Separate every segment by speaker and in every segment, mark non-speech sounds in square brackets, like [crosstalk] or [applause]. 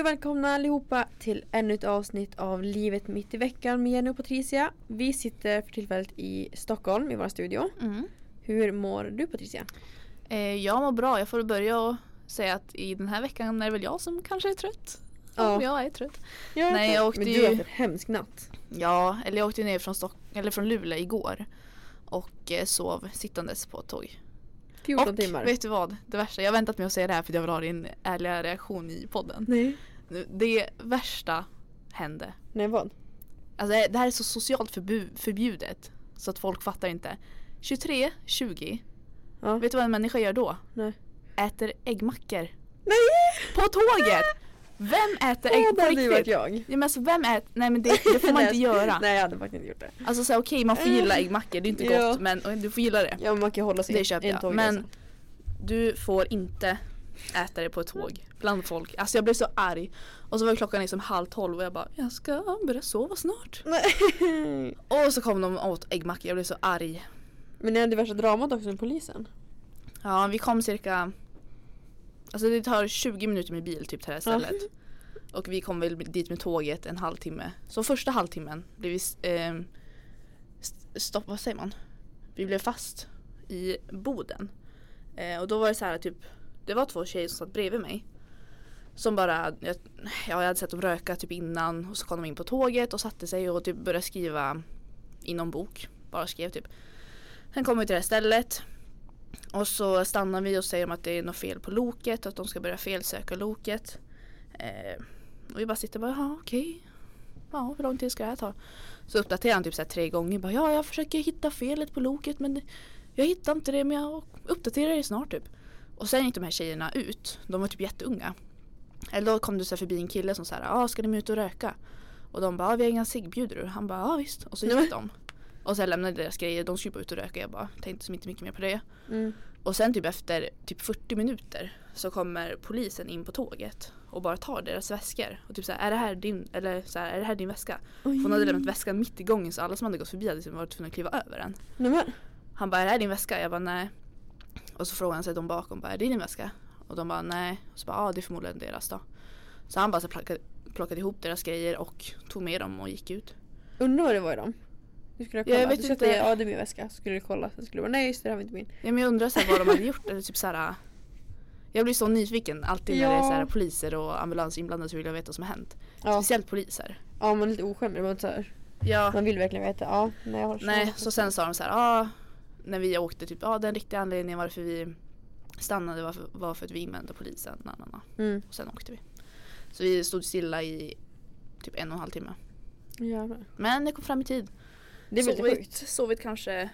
Speaker 1: och välkomna allihopa till ännu ett avsnitt av Livet mitt i veckan med Jenny och Patricia. Vi sitter för tillfället i Stockholm i vår studio.
Speaker 2: Mm.
Speaker 1: Hur mår du Patricia?
Speaker 2: Eh, jag mår bra. Jag får börja och säga att i den här veckan är det väl jag som kanske är trött.
Speaker 1: Ja.
Speaker 2: Om jag är trött.
Speaker 1: Jag
Speaker 2: Nej, jag åkte
Speaker 1: Men
Speaker 2: ju-
Speaker 1: du har haft en hemsk natt.
Speaker 2: Ja, eller jag åkte ju ner från, Stock- eller från Luleå igår och eh, sov sittandes på ett tåg.
Speaker 1: 14
Speaker 2: och
Speaker 1: timmar.
Speaker 2: vet du vad? Det värsta, jag har väntat med att säga det här för jag vill ha din ärliga reaktion i podden.
Speaker 1: Nej.
Speaker 2: Det värsta hände.
Speaker 1: Nej vad?
Speaker 2: Alltså det- det här är så socialt förbu- förbjudet så att folk fattar inte. 23, 20.
Speaker 1: Ja.
Speaker 2: Vet du vad en människa gör då?
Speaker 1: Nej.
Speaker 2: Äter äggmackor.
Speaker 1: Nej!
Speaker 2: På tåget! Vem äter ägg
Speaker 1: Åh,
Speaker 2: på
Speaker 1: det hade ju varit
Speaker 2: riktigt?
Speaker 1: jag.
Speaker 2: Ja, men alltså vem äter? Nej men det, det får man
Speaker 1: [laughs]
Speaker 2: inte
Speaker 1: Nej,
Speaker 2: göra.
Speaker 1: Nej jag hade faktiskt inte gjort det.
Speaker 2: Alltså så här, okej man får gilla äggmackor, det är inte gott
Speaker 1: Ja.
Speaker 2: men och du får gilla det.
Speaker 1: Ja men man kan ju hålla sig
Speaker 2: Det köper jag.
Speaker 1: tågresa.
Speaker 2: Men du får inte äta det på ett tåg bland folk. Alltså jag blev så arg. Och så var klockan liksom halv tolv och jag bara jag ska börja sova snart.
Speaker 1: Nej.
Speaker 2: Och så kom de och åt äggmackor, jag blev så arg.
Speaker 1: [laughs] Men ni hade värsta dramat också med polisen.
Speaker 2: Ja, vi kom cirka... Alltså det tar 20 minuter med bil typ till det här
Speaker 1: Ja.
Speaker 2: stället. Och vi kom väl dit med tåget en halvtimme. Så första halvtimmen blev vi... s- ehm, st- stopp, vad säger man? Vi blev fast i Boden. Eh, och då var det så här typ... Det var två tjejer som satt bredvid mig. Som bara... Jag, ja, jag hade sett dem röka typ innan och så kom de in på tåget och satte sig och typ började skriva i någon bok. Bara skrev typ. Sen kom vi till det här stället. Och så stannar vi och säger dem att det är något fel på loket och att de ska börja felsöka loket. Eh, och vi bara sitter och bara, ja okej. Ja, hur lång tid ska det här ta? Så uppdaterar han typ så här tre gånger. Bara, ja, jag försöker hitta felet på loket men det- jag hittar inte det men jag uppdaterar det snart typ. Och sen gick de här tjejerna ut. De var typ jätteunga. Eller då kom det så här förbi en kille som sa, ja ska ni ut och röka? Och de bara, ja, vi har inga ciggbjudor. Han bara, ja visst. Och så
Speaker 1: Nej, men-
Speaker 2: gick de. Och sen lämnade deras grejer. De skulle bara ut och röka. Jag bara, tänkte som inte mycket mer på det.
Speaker 1: Mm.
Speaker 2: Och sen typ efter typ 40 minuter så kommer polisen in på tåget och bara tar deras väskor. Och typ så här, är det här din, eller så här, är det här din väska? För Hon hade lämnat väskan mitt i gången så alla som hade gått förbi hade liksom varit tvungna att kliva över den.
Speaker 1: Nej men.
Speaker 2: Han bara, är det här din väska? Jag bara, nej. Och så frågade han sig de bakom, bara, är det din väska? Och de bara, nej. Och så bara, ja ah, det är förmodligen deras då. Så han bara så plockade, plockade ihop deras grejer och tog med dem och gick ut.
Speaker 1: Undrar vad det var i dem. Du skulle ha kollat.
Speaker 2: Jag vet
Speaker 1: du skulle
Speaker 2: inte.
Speaker 1: säga ja det är min väska. Så skulle du kolla. Sen skulle du bara nej just det, det här var inte min.
Speaker 2: Ja, men jag undrar så här, vad de hade gjort. Eller typ så här, jag blir så nyfiken alltid när det är så här,
Speaker 1: Ja.
Speaker 2: poliser och ambulans inblandade så vill jag veta vad som har hänt.
Speaker 1: Ja,
Speaker 2: Speciellt poliser.
Speaker 1: ja man är lite oskämd. men Man, så här,
Speaker 2: Ja.
Speaker 1: man vill verkligen veta. Ja, nej, jag har
Speaker 2: Nej, så sen sa de så här, ah, när vi åkte, typ, ah, den riktiga anledningen varför vi stannade var för, var för att vi invände polisen. Na, na, na.
Speaker 1: Mm.
Speaker 2: Och sen åkte vi. Så vi stod stilla i typ en och en halv timme.
Speaker 1: Jävlar.
Speaker 2: Men det kom fram i tid.
Speaker 1: Det är väldigt
Speaker 2: sovit,
Speaker 1: sjukt.
Speaker 2: sovit kanske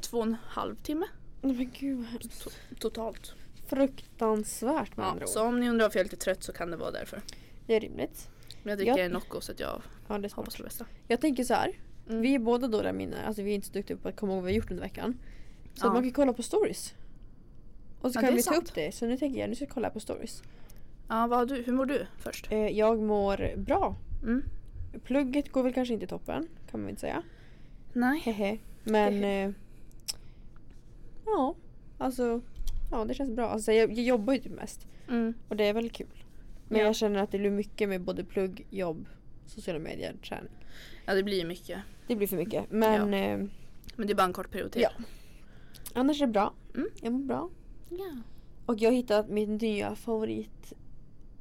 Speaker 2: två och en halv timme
Speaker 1: Nej men gud vad hemskt.
Speaker 2: totalt.
Speaker 1: Fruktansvärt med andra
Speaker 2: Ja,
Speaker 1: ord.
Speaker 2: så om ni undrar varför jag är lite trött så kan det vara därför.
Speaker 1: Det är rimligt.
Speaker 2: Men jag dricker
Speaker 1: Ja.
Speaker 2: en Nocco så att jag
Speaker 1: Ja, det är smart.
Speaker 2: hoppas på det bästa.
Speaker 1: Jag tänker så här.
Speaker 2: Mm.
Speaker 1: Vi är båda dåliga minnen. Alltså vi är inte så duktiga på att komma ihåg vad vi har gjort under veckan. Så
Speaker 2: Ja.
Speaker 1: man kan kolla på stories. Och så
Speaker 2: Ja, det
Speaker 1: kan
Speaker 2: är
Speaker 1: vi ta
Speaker 2: sant.
Speaker 1: upp det. Så nu tänker jag nu ska jag kolla på stories.
Speaker 2: Ja, vad har du? Hur mår du först?
Speaker 1: Eh, jag mår bra.
Speaker 2: Mm.
Speaker 1: Plugget går väl kanske inte toppen. Kan man inte säga.
Speaker 2: Nej.
Speaker 1: Hehe. Men... Eh, ja. Alltså... Ja det känns bra. Alltså, jag, jag jobbar ju typ mest.
Speaker 2: Mm.
Speaker 1: Och det är väldigt kul. Men
Speaker 2: Ja.
Speaker 1: jag känner att det blir mycket med både plugg, jobb, sociala medier, träning.
Speaker 2: Ja, det blir ju mycket.
Speaker 1: Det blir för mycket. Men eh,
Speaker 2: Men det är bara en kort period till.
Speaker 1: Ja. annars är det bra.
Speaker 2: Mm.
Speaker 1: Jag mår bra.
Speaker 2: Ja.
Speaker 1: Och jag har hittat min nya favorit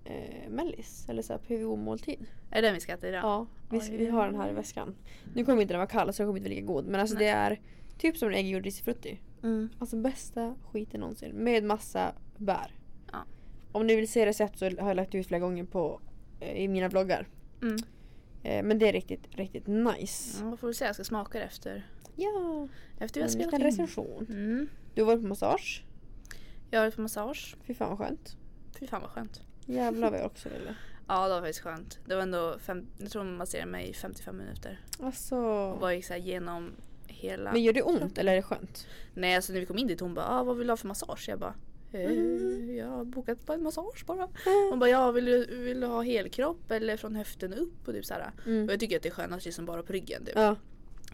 Speaker 1: eh, mellis. Eller så här PVO-måltid.
Speaker 2: Är det den vi ska äta idag?
Speaker 1: Ja, vi,
Speaker 2: Oj.
Speaker 1: vi har den här i väskan. Nu kommer inte den vara kall så den kommer inte vara lika god. Men alltså det är typ som en ägggjord risifrutti.
Speaker 2: Mm.
Speaker 1: Alltså bästa skiten någonsin. Med massa bär.
Speaker 2: Ja.
Speaker 1: Om ni vill se recept så har jag lagt ut flera gånger på, eh, i mina vloggar.
Speaker 2: Mm.
Speaker 1: Eh, men det är riktigt, riktigt nice.
Speaker 2: Ja, Vad får vi säga? Jag ska smaka det efter.
Speaker 1: Ja,
Speaker 2: Efter vi har
Speaker 1: en
Speaker 2: spelat
Speaker 1: liten
Speaker 2: in.
Speaker 1: recension.
Speaker 2: Mm.
Speaker 1: Du har varit på massage.
Speaker 2: Jag har varit på massage.
Speaker 1: Fy fan vad skönt.
Speaker 2: Fy fan vad skönt.
Speaker 1: Jävlar vad jag också ville.
Speaker 2: Ja, det var faktiskt skönt. Det var ändå fem, jag tror man masserade mig i 55 minuter.
Speaker 1: Alltså.
Speaker 2: Och bara gick så här genom hela...
Speaker 1: Men gör det ont eller är det skönt?
Speaker 2: Nej, alltså när vi kom in dit hon bara ah, vad vill du ha för massage? Jag bara eh,
Speaker 1: Mm.
Speaker 2: jag har bokat bara en massage bara. Hon bara ja, vill du, vill du ha helkropp eller från höften upp? Och typ så här.
Speaker 1: Mm.
Speaker 2: Och jag tycker att det är skönast liksom bara på ryggen. Typ.
Speaker 1: Ja.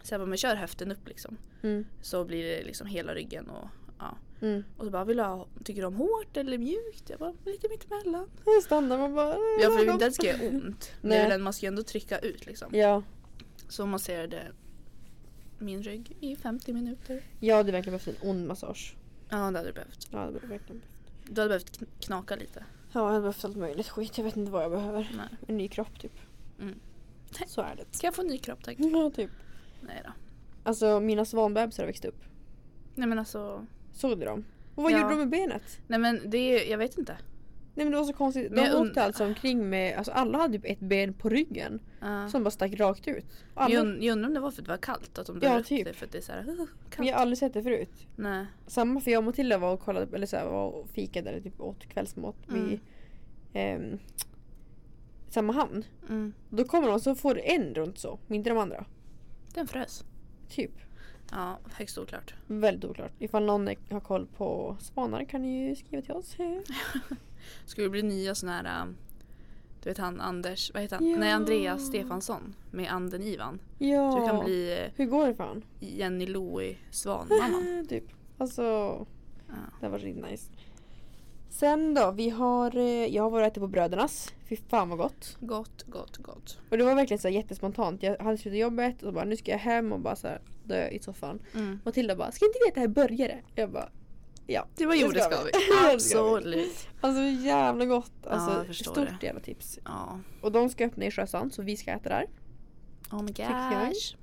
Speaker 2: Så jag bara, men kör höften upp liksom.
Speaker 1: Mm.
Speaker 2: Så blir det liksom hela ryggen och Ja.
Speaker 1: Mm.
Speaker 2: Och så bara, vill du ha, tycker du om hårt eller mjukt? Jag bara, lite mittemellan.
Speaker 1: Stannar man bara.
Speaker 2: Ja för inte ens ska göra ont. Det
Speaker 1: Nej.
Speaker 2: är väl den man ska ju ändå trycka ut liksom.
Speaker 1: Ja.
Speaker 2: Så masserade min rygg i 50 minuter.
Speaker 1: Jag hade verkligen behövt en ond massage.
Speaker 2: Ja det hade du behövt.
Speaker 1: Jag hade verkligen behövt.
Speaker 2: Du hade behövt kn- knaka lite.
Speaker 1: Ja, jag hade behövt allt möjligt skit. Jag vet inte vad jag behöver.
Speaker 2: Nej.
Speaker 1: En ny kropp typ.
Speaker 2: Mm.
Speaker 1: Så är det.
Speaker 2: Ska jag få en ny kropp tack?
Speaker 1: Ja, typ.
Speaker 2: Nej då.
Speaker 1: Alltså mina svanbebisar har växt upp.
Speaker 2: Nej men alltså.
Speaker 1: Såg du dem? Och vad
Speaker 2: Ja.
Speaker 1: gjorde de med benet?
Speaker 2: Nej men det är, jag vet inte.
Speaker 1: Nej men det var så konstigt.
Speaker 2: Men
Speaker 1: De
Speaker 2: jag
Speaker 1: åkte
Speaker 2: undrar-
Speaker 1: alltså omkring med, alltså alla hade typ ett ben på ryggen.
Speaker 2: Ja.
Speaker 1: Som bara stack rakt ut.
Speaker 2: Men
Speaker 1: Alla,
Speaker 2: Jag, und- jag undrar om det var för att det var kallt. Att de
Speaker 1: Ja,
Speaker 2: drar ut
Speaker 1: typ.
Speaker 2: det för att det är såhär uh,
Speaker 1: men
Speaker 2: kallt.
Speaker 1: jag har aldrig sett det förut.
Speaker 2: Nej.
Speaker 1: Samma för jag och Matilda var och kollade, eller så här, var och fikade eller typ åt kvällsmat
Speaker 2: Mm.
Speaker 1: vid ehm, samma hamn.
Speaker 2: Mm.
Speaker 1: Då kommer de så får en runt så, men inte de andra.
Speaker 2: Den frös.
Speaker 1: Typ.
Speaker 2: Ja högst oklart.
Speaker 1: Väldigt oklart. Ifall någon är- har koll på svanar kan ni ju skriva
Speaker 2: [laughs]
Speaker 1: till oss.
Speaker 2: Ska det bli nya såna här. um, Du vet han Anders, vad heter han?
Speaker 1: Ja.
Speaker 2: Nej Andreas Stefansson med anden Ivan.
Speaker 1: Ja.
Speaker 2: Du kan bli eh,
Speaker 1: Hur går det för han?
Speaker 2: Jenny Louie
Speaker 1: [laughs]
Speaker 2: Svanmamman.
Speaker 1: typ. Alltså,
Speaker 2: Ja.
Speaker 1: det var riktigt nice. Sen då, vi har, eh, jag har varit och ätit på Brödernas. Fy fan vad gott.
Speaker 2: Gott, gott, gott.
Speaker 1: Och det var verkligen så här jättespontant. Jag hade slutat jobbet och bara nu ska jag hem och bara så här dö i soffan.
Speaker 2: Mm.
Speaker 1: Matilda bara, ska inte vi äta här burgare? Jag bara, [laughs] ja.
Speaker 2: Det var
Speaker 1: jo,
Speaker 2: jo,
Speaker 1: det
Speaker 2: det
Speaker 1: ska
Speaker 2: ska vi.
Speaker 1: vi.
Speaker 2: Absolut.
Speaker 1: Alltså jävla gott.
Speaker 2: jag
Speaker 1: Alltså,
Speaker 2: förstår
Speaker 1: stort jävla tips.
Speaker 2: Ja.
Speaker 1: Och de ska öppna i Sjösand så vi ska äta där
Speaker 2: Oh my
Speaker 1: jag.
Speaker 2: gosh.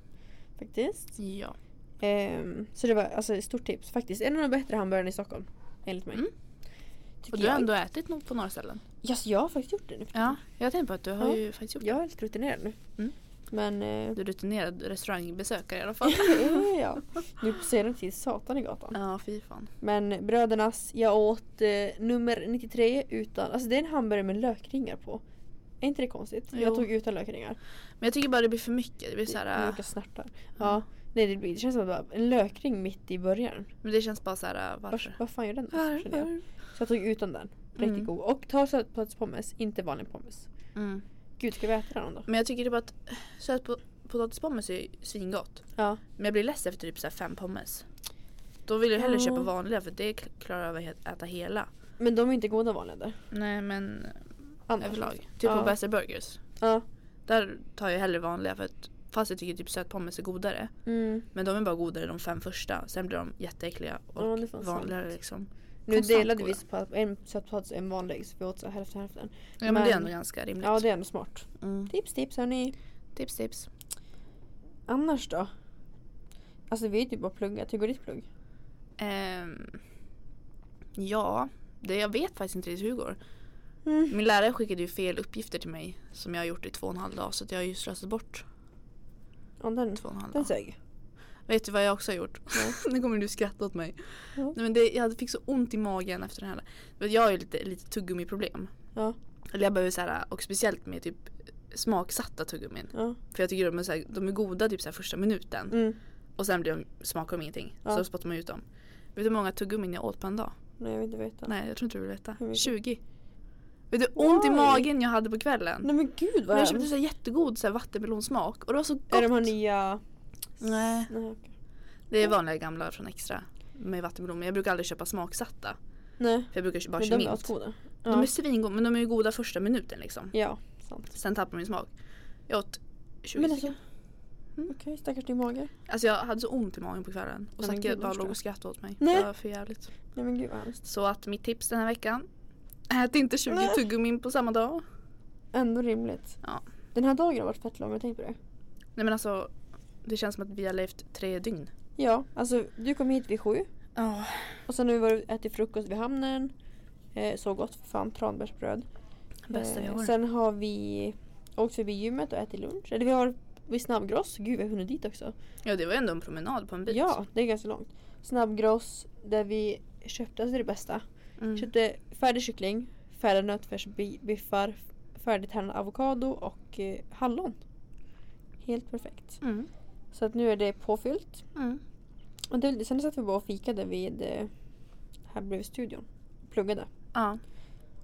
Speaker 1: faktiskt.
Speaker 2: Ja.
Speaker 1: Ehm, så det var alltså ett stort tips. Faktiskt en av de bättre hamburgarna i Stockholm. Enligt mig.
Speaker 2: Mm.
Speaker 1: Tycker
Speaker 2: Och du har
Speaker 1: jag.
Speaker 2: ändå ätit något på några ställen.
Speaker 1: Ja, så Alltså, jag har faktiskt gjort det nu.
Speaker 2: Ja. Jag tänkte på att du har
Speaker 1: Ja.
Speaker 2: ju faktiskt gjort
Speaker 1: Jag är lite rutinerad nu.
Speaker 2: Mm.
Speaker 1: Men eh, [laughs]
Speaker 2: Du är rutinerad restaurangbesökare i alla [laughs] fall.
Speaker 1: ja, ja. nu på senare tid, satan i gatan.
Speaker 2: ja, fy fan.
Speaker 1: Men Brödernas, jag åt eh, nummer 93 utan, alltså det är en hamburgare med lökringar på. Är inte det konstigt? Jag
Speaker 2: Jo.
Speaker 1: tog utan lökringar.
Speaker 2: Men jag tycker bara det blir för mycket. Det blir så
Speaker 1: Det-
Speaker 2: här, äh.
Speaker 1: Olika snärtar. Ja. Nej det, blir, det känns som att det var en lökring mitt i början.
Speaker 2: men det känns bara så här,
Speaker 1: Vars,
Speaker 2: varför?
Speaker 1: vad fan gör den? där, känner jag.
Speaker 2: Varför?
Speaker 1: Så jag tog utan den. Riktigt
Speaker 2: Mm.
Speaker 1: god. Och ta sötpotatispommes, inte vanlig pommes.
Speaker 2: Mm.
Speaker 1: Gud ska vi äta den då?
Speaker 2: Men jag tycker typ att sötpotatispommes är ju svingott.
Speaker 1: Ja.
Speaker 2: Men jag blir less efter typ så här fem pommes. Då vill jag hellre
Speaker 1: Ja.
Speaker 2: köpa vanliga för det klarar jag av att he- äta hela.
Speaker 1: Men de är inte goda vanliga där.
Speaker 2: Nej men
Speaker 1: Annars.
Speaker 2: överlag. Typ
Speaker 1: Ja.
Speaker 2: på Bästa Burgers.
Speaker 1: Ja.
Speaker 2: Där tar jag hellre vanliga för att fast jag tycker typ sötpommes är godare.
Speaker 1: Mm.
Speaker 2: Men de är bara godare de fem första. Sen blir de jätteäckliga och
Speaker 1: Ja, det är fan
Speaker 2: vanligare
Speaker 1: sant.
Speaker 2: liksom.
Speaker 1: Nu
Speaker 2: Konstant
Speaker 1: delade vi
Speaker 2: goda.
Speaker 1: på en sötpotatis och en vanlig så vi åt så här hälften hälften.
Speaker 2: Ja men, det är
Speaker 1: Men-
Speaker 2: ändå ganska rimligt.
Speaker 1: Ja det är ändå smart.
Speaker 2: mm.
Speaker 1: Tips tips hörni.
Speaker 2: Tips tips.
Speaker 1: Annars då? Alltså vi är ju typ bara pluggat. Hur går ditt plugg?
Speaker 2: Ehm, ja, det, jag vet faktiskt inte riktigt hur det går.
Speaker 1: Mm.
Speaker 2: Min lärare skickade ju fel uppgifter till mig som jag har gjort i två och en halv dag så att jag har ju slösat bort
Speaker 1: Ja, den,
Speaker 2: två och en halv
Speaker 1: den
Speaker 2: dag.
Speaker 1: sög.
Speaker 2: Vet du vad jag också har gjort?
Speaker 1: Nej.
Speaker 2: [laughs] nu kommer du skratta åt mig.
Speaker 1: Ja.
Speaker 2: Nej, men det, jag fick så ont i magen efter den här. Men Jag har ju lite, lite tuggummiproblem.
Speaker 1: Ja.
Speaker 2: Eller jag behöver så här, och speciellt med typ smaksatta tuggummin.
Speaker 1: Ja.
Speaker 2: För jag tycker de är, så här, de är goda typ så här första minuten
Speaker 1: Mm.
Speaker 2: och sen blir de, smakar de ingenting.
Speaker 1: Ja.
Speaker 2: Så spottar man ut dem. Vet du hur många tuggummin jag åt på en dag?
Speaker 1: Nej jag vill inte veta. Nej,
Speaker 2: Nej jag tror inte du vill
Speaker 1: Hur
Speaker 2: veta.
Speaker 1: mycket?
Speaker 2: 20. Vet du hur ont i
Speaker 1: Oj.
Speaker 2: magen jag hade på kvällen?
Speaker 1: men gud vad
Speaker 2: Men jag köpte
Speaker 1: hemskt.
Speaker 2: så här jättegod så här vattenmelonsmak och det var så gott.
Speaker 1: Är de här nya?
Speaker 2: Nej.
Speaker 1: Nej, okej.
Speaker 2: Det är vanliga gamla från Extra med vattenmelon men jag brukar aldrig köpa smaksatta.
Speaker 1: Nej.
Speaker 2: För jag brukar bara
Speaker 1: Men
Speaker 2: köpa
Speaker 1: de är
Speaker 2: mint.
Speaker 1: asgoda.
Speaker 2: De är svingoda men de är ju goda första minuten liksom.
Speaker 1: Ja, sant.
Speaker 2: Sen tappar min smak. Jag åt 20
Speaker 1: Men
Speaker 2: men
Speaker 1: alltså,
Speaker 2: Mm.
Speaker 1: okej stackars din mage.
Speaker 2: Alltså jag hade så ont i magen på kvällen och
Speaker 1: Ja, men
Speaker 2: Zacke
Speaker 1: gud,
Speaker 2: bara
Speaker 1: förstår
Speaker 2: låg
Speaker 1: jag.
Speaker 2: och skrattade åt mig.
Speaker 1: Nej.
Speaker 2: Det var för jävligt.
Speaker 1: Nej men gud vad hemskt.
Speaker 2: Så att mitt tips den här veckan. Ät inte 20
Speaker 1: Nej.
Speaker 2: tuggummin på samma dag.
Speaker 1: Ändå rimligt.
Speaker 2: Ja.
Speaker 1: Den här dagen har varit fett lång, har du tänkt på det?
Speaker 2: Nej men alltså det känns som att vi har levt tre dygn.
Speaker 1: Ja, alltså du kom hit vid sju
Speaker 2: Ja.
Speaker 1: och sen har vi varit och ätit frukost vid hamnen. Eh, så gott för fan, tranbärsbröd. Eh,
Speaker 2: Bästa vi har.
Speaker 1: sen har vi åkt förbi gymmet och ätit lunch. Eller vi har vid snabbgross, gud vi har hunnit dit också.
Speaker 2: Ja det var ju ändå en promenad på en bit.
Speaker 1: Ja, det är ganska långt. Snabbgross där vi köpte, alltså det bästa.
Speaker 2: Mm.
Speaker 1: Köpte färdig kyckling, färdiga nötfärsbiffar, färdigtärnad avokado och eh, hallon. Helt perfekt.
Speaker 2: Mm.
Speaker 1: Så att nu är det påfyllt.
Speaker 2: Mm.
Speaker 1: Och det, sen satt vi bara och fikade vid eh, här bredvid studion. Pluggade.
Speaker 2: Ja,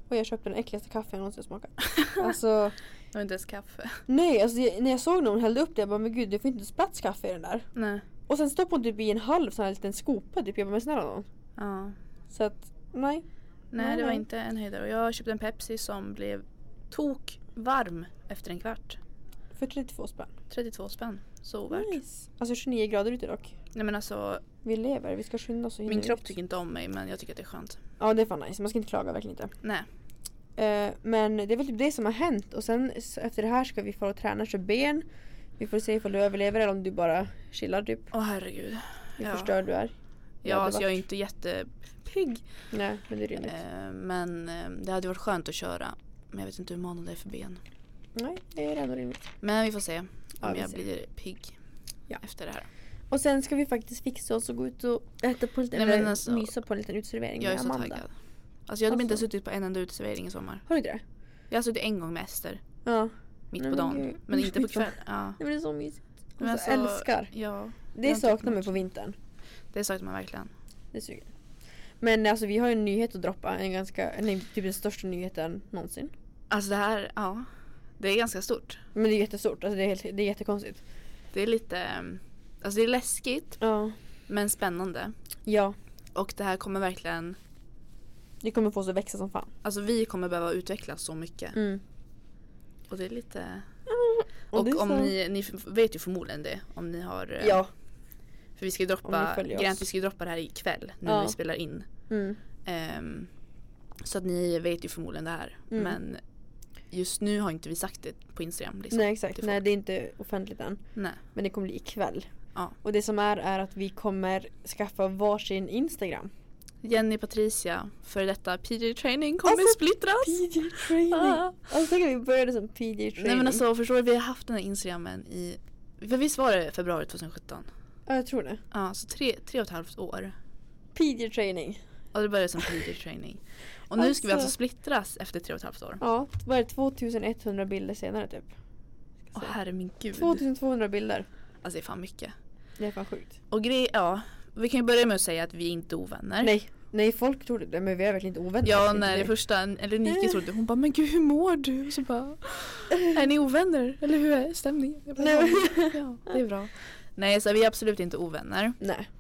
Speaker 1: Och jag köpte den äckligaste kaffe jag någonsin
Speaker 2: [laughs]
Speaker 1: smakat. alltså,
Speaker 2: det var inte ens kaffe.
Speaker 1: nej, alltså, jag, när jag såg när hon hällde upp det jag bara men gud det får inte ens plats kaffe i den där.
Speaker 2: Nej.
Speaker 1: Och sen stoppade hon typ i en halv sån här liten skopa typ. Jag bara men snälla någon.
Speaker 2: Ja.
Speaker 1: Så att, nej.
Speaker 2: Nej,
Speaker 1: Nej,
Speaker 2: det var
Speaker 1: nej.
Speaker 2: inte en höjdare. Och jag köpte en Pepsi som blev tok varm efter en kvart.
Speaker 1: För 32 spänn.
Speaker 2: 32 spänn. Så ovärt.
Speaker 1: Nice. Alltså 29 grader ute dock.
Speaker 2: Nej men alltså,
Speaker 1: Vi lever, vi ska skynda oss och hinna
Speaker 2: min kropp
Speaker 1: ut.
Speaker 2: tycker inte om mig men jag tycker att det är skönt.
Speaker 1: Ja det är fan nice, man ska inte klaga verkligen inte.
Speaker 2: Nej.
Speaker 1: Eh, men det är väl typ det som har hänt och sen s- efter det här ska vi få träna och köra ben. Vi får se ifall du överlever eller om du bara chillar typ.
Speaker 2: Åh herregud.
Speaker 1: Hur
Speaker 2: Ja.
Speaker 1: förstörd du är.
Speaker 2: Ja,
Speaker 1: hade
Speaker 2: alltså jag är
Speaker 1: varit.
Speaker 2: inte jättepigg.
Speaker 1: Nej men det är rimligt.
Speaker 2: Eh, men eh, det hade varit skönt att köra. Men jag vet inte hur manen det är för ben.
Speaker 1: Nej det är ändå rimligt.
Speaker 2: Men vi får se om
Speaker 1: Ja, vi
Speaker 2: jag
Speaker 1: ser.
Speaker 2: blir pigg
Speaker 1: Ja.
Speaker 2: efter det här.
Speaker 1: Och sen ska vi faktiskt fixa oss och gå ut och äta på lite,
Speaker 2: Nej, men
Speaker 1: eller
Speaker 2: alltså,
Speaker 1: mysa på en liten uteservering
Speaker 2: Jag är
Speaker 1: med
Speaker 2: så
Speaker 1: Amanda.
Speaker 2: taggad. Alltså jag hade inte
Speaker 1: Alltså.
Speaker 2: suttit på en enda uteservering i sommar.
Speaker 1: Har du inte det?
Speaker 2: Jag har suttit en gång med Ester.
Speaker 1: Ja. Nej,
Speaker 2: Mitt på
Speaker 1: men
Speaker 2: dagen.
Speaker 1: gud.
Speaker 2: Men inte på
Speaker 1: Mitt på-
Speaker 2: kvällen. Ja.
Speaker 1: Nej, men det är så mysigt.
Speaker 2: Men
Speaker 1: Alltså,
Speaker 2: alltså,
Speaker 1: älskar.
Speaker 2: ja.
Speaker 1: Det
Speaker 2: jag har tyckt
Speaker 1: saknar
Speaker 2: något.
Speaker 1: mig på vintern.
Speaker 2: Det saknar man verkligen.
Speaker 1: Det suger. Men alltså vi har ju en nyhet att droppa. En ganska, nej, typ den största nyheten någonsin.
Speaker 2: Alltså det här, ja. Det är ganska stort.
Speaker 1: Men det är jättestort, alltså det är, helt, det är jättekonstigt.
Speaker 2: Det är lite, ehm, alltså det är läskigt
Speaker 1: Ja.
Speaker 2: men spännande.
Speaker 1: Ja,
Speaker 2: Och det här kommer verkligen,
Speaker 1: det kommer få oss att växa som fan.
Speaker 2: alltså vi kommer behöva utvecklas så mycket.
Speaker 1: Mm.
Speaker 2: Och det är lite,
Speaker 1: Och
Speaker 2: och
Speaker 1: det är
Speaker 2: om
Speaker 1: så-
Speaker 2: ni, ni f- vet ju förmodligen det om ni har, eh,
Speaker 1: Ja.
Speaker 2: för vi ska ju
Speaker 1: Om ni
Speaker 2: droppa,
Speaker 1: följer oss.
Speaker 2: grejen är att vi ska ju droppa det här ikväll nu
Speaker 1: Ja.
Speaker 2: när vi spelar in.
Speaker 1: Mm.
Speaker 2: Ehm, så att ni vet ju förmodligen det här.
Speaker 1: Mm.
Speaker 2: Men just nu har inte vi sagt det på Instagram. Liksom,
Speaker 1: Nej
Speaker 2: till
Speaker 1: exakt,
Speaker 2: folk.
Speaker 1: nej det är inte offentligt än.
Speaker 2: Nej.
Speaker 1: Men det kommer bli ikväll.
Speaker 2: Ja.
Speaker 1: Och det som är är att vi kommer skaffa varsin Instagram.
Speaker 2: Jenny Patricia, för detta PJ Training kommer
Speaker 1: Alltså, [laughs]
Speaker 2: splittras.
Speaker 1: PJ training!
Speaker 2: Ah.
Speaker 1: Alltså tänk att vi började som PJ training.
Speaker 2: Nej men alltså förstår du, vi har haft den här Instagramen i, för visst var det februari 2017?
Speaker 1: Ja jag tror det.
Speaker 2: Ja, så tre, tre och ett halvt år.
Speaker 1: PJ training.
Speaker 2: Och det började som PJ Training. Och nu ska vi
Speaker 1: Alltså.
Speaker 2: alltså splittras efter tre och ett halvt år.
Speaker 1: Ja, vad är det? 2100 bilder senare typ.
Speaker 2: Åh herre min gud.
Speaker 1: 2200 bilder.
Speaker 2: Alltså det är fan mycket.
Speaker 1: Det är fan sjukt.
Speaker 2: Och grej, ja. Vi kan ju börja med att säga att vi är inte ovänner.
Speaker 1: Nej, nej folk tror det men vi är verkligen inte ovänner.
Speaker 2: Ja,
Speaker 1: Inte
Speaker 2: när det
Speaker 1: det.
Speaker 2: första, eller Niki trodde hon bara men gud hur mår du? Och så bara är ni ovänner? Eller hur är stämningen? Jag bara,
Speaker 1: Nej.
Speaker 2: ja, det är bra. Nej så vi är absolut inte ovänner.
Speaker 1: [laughs] Nej.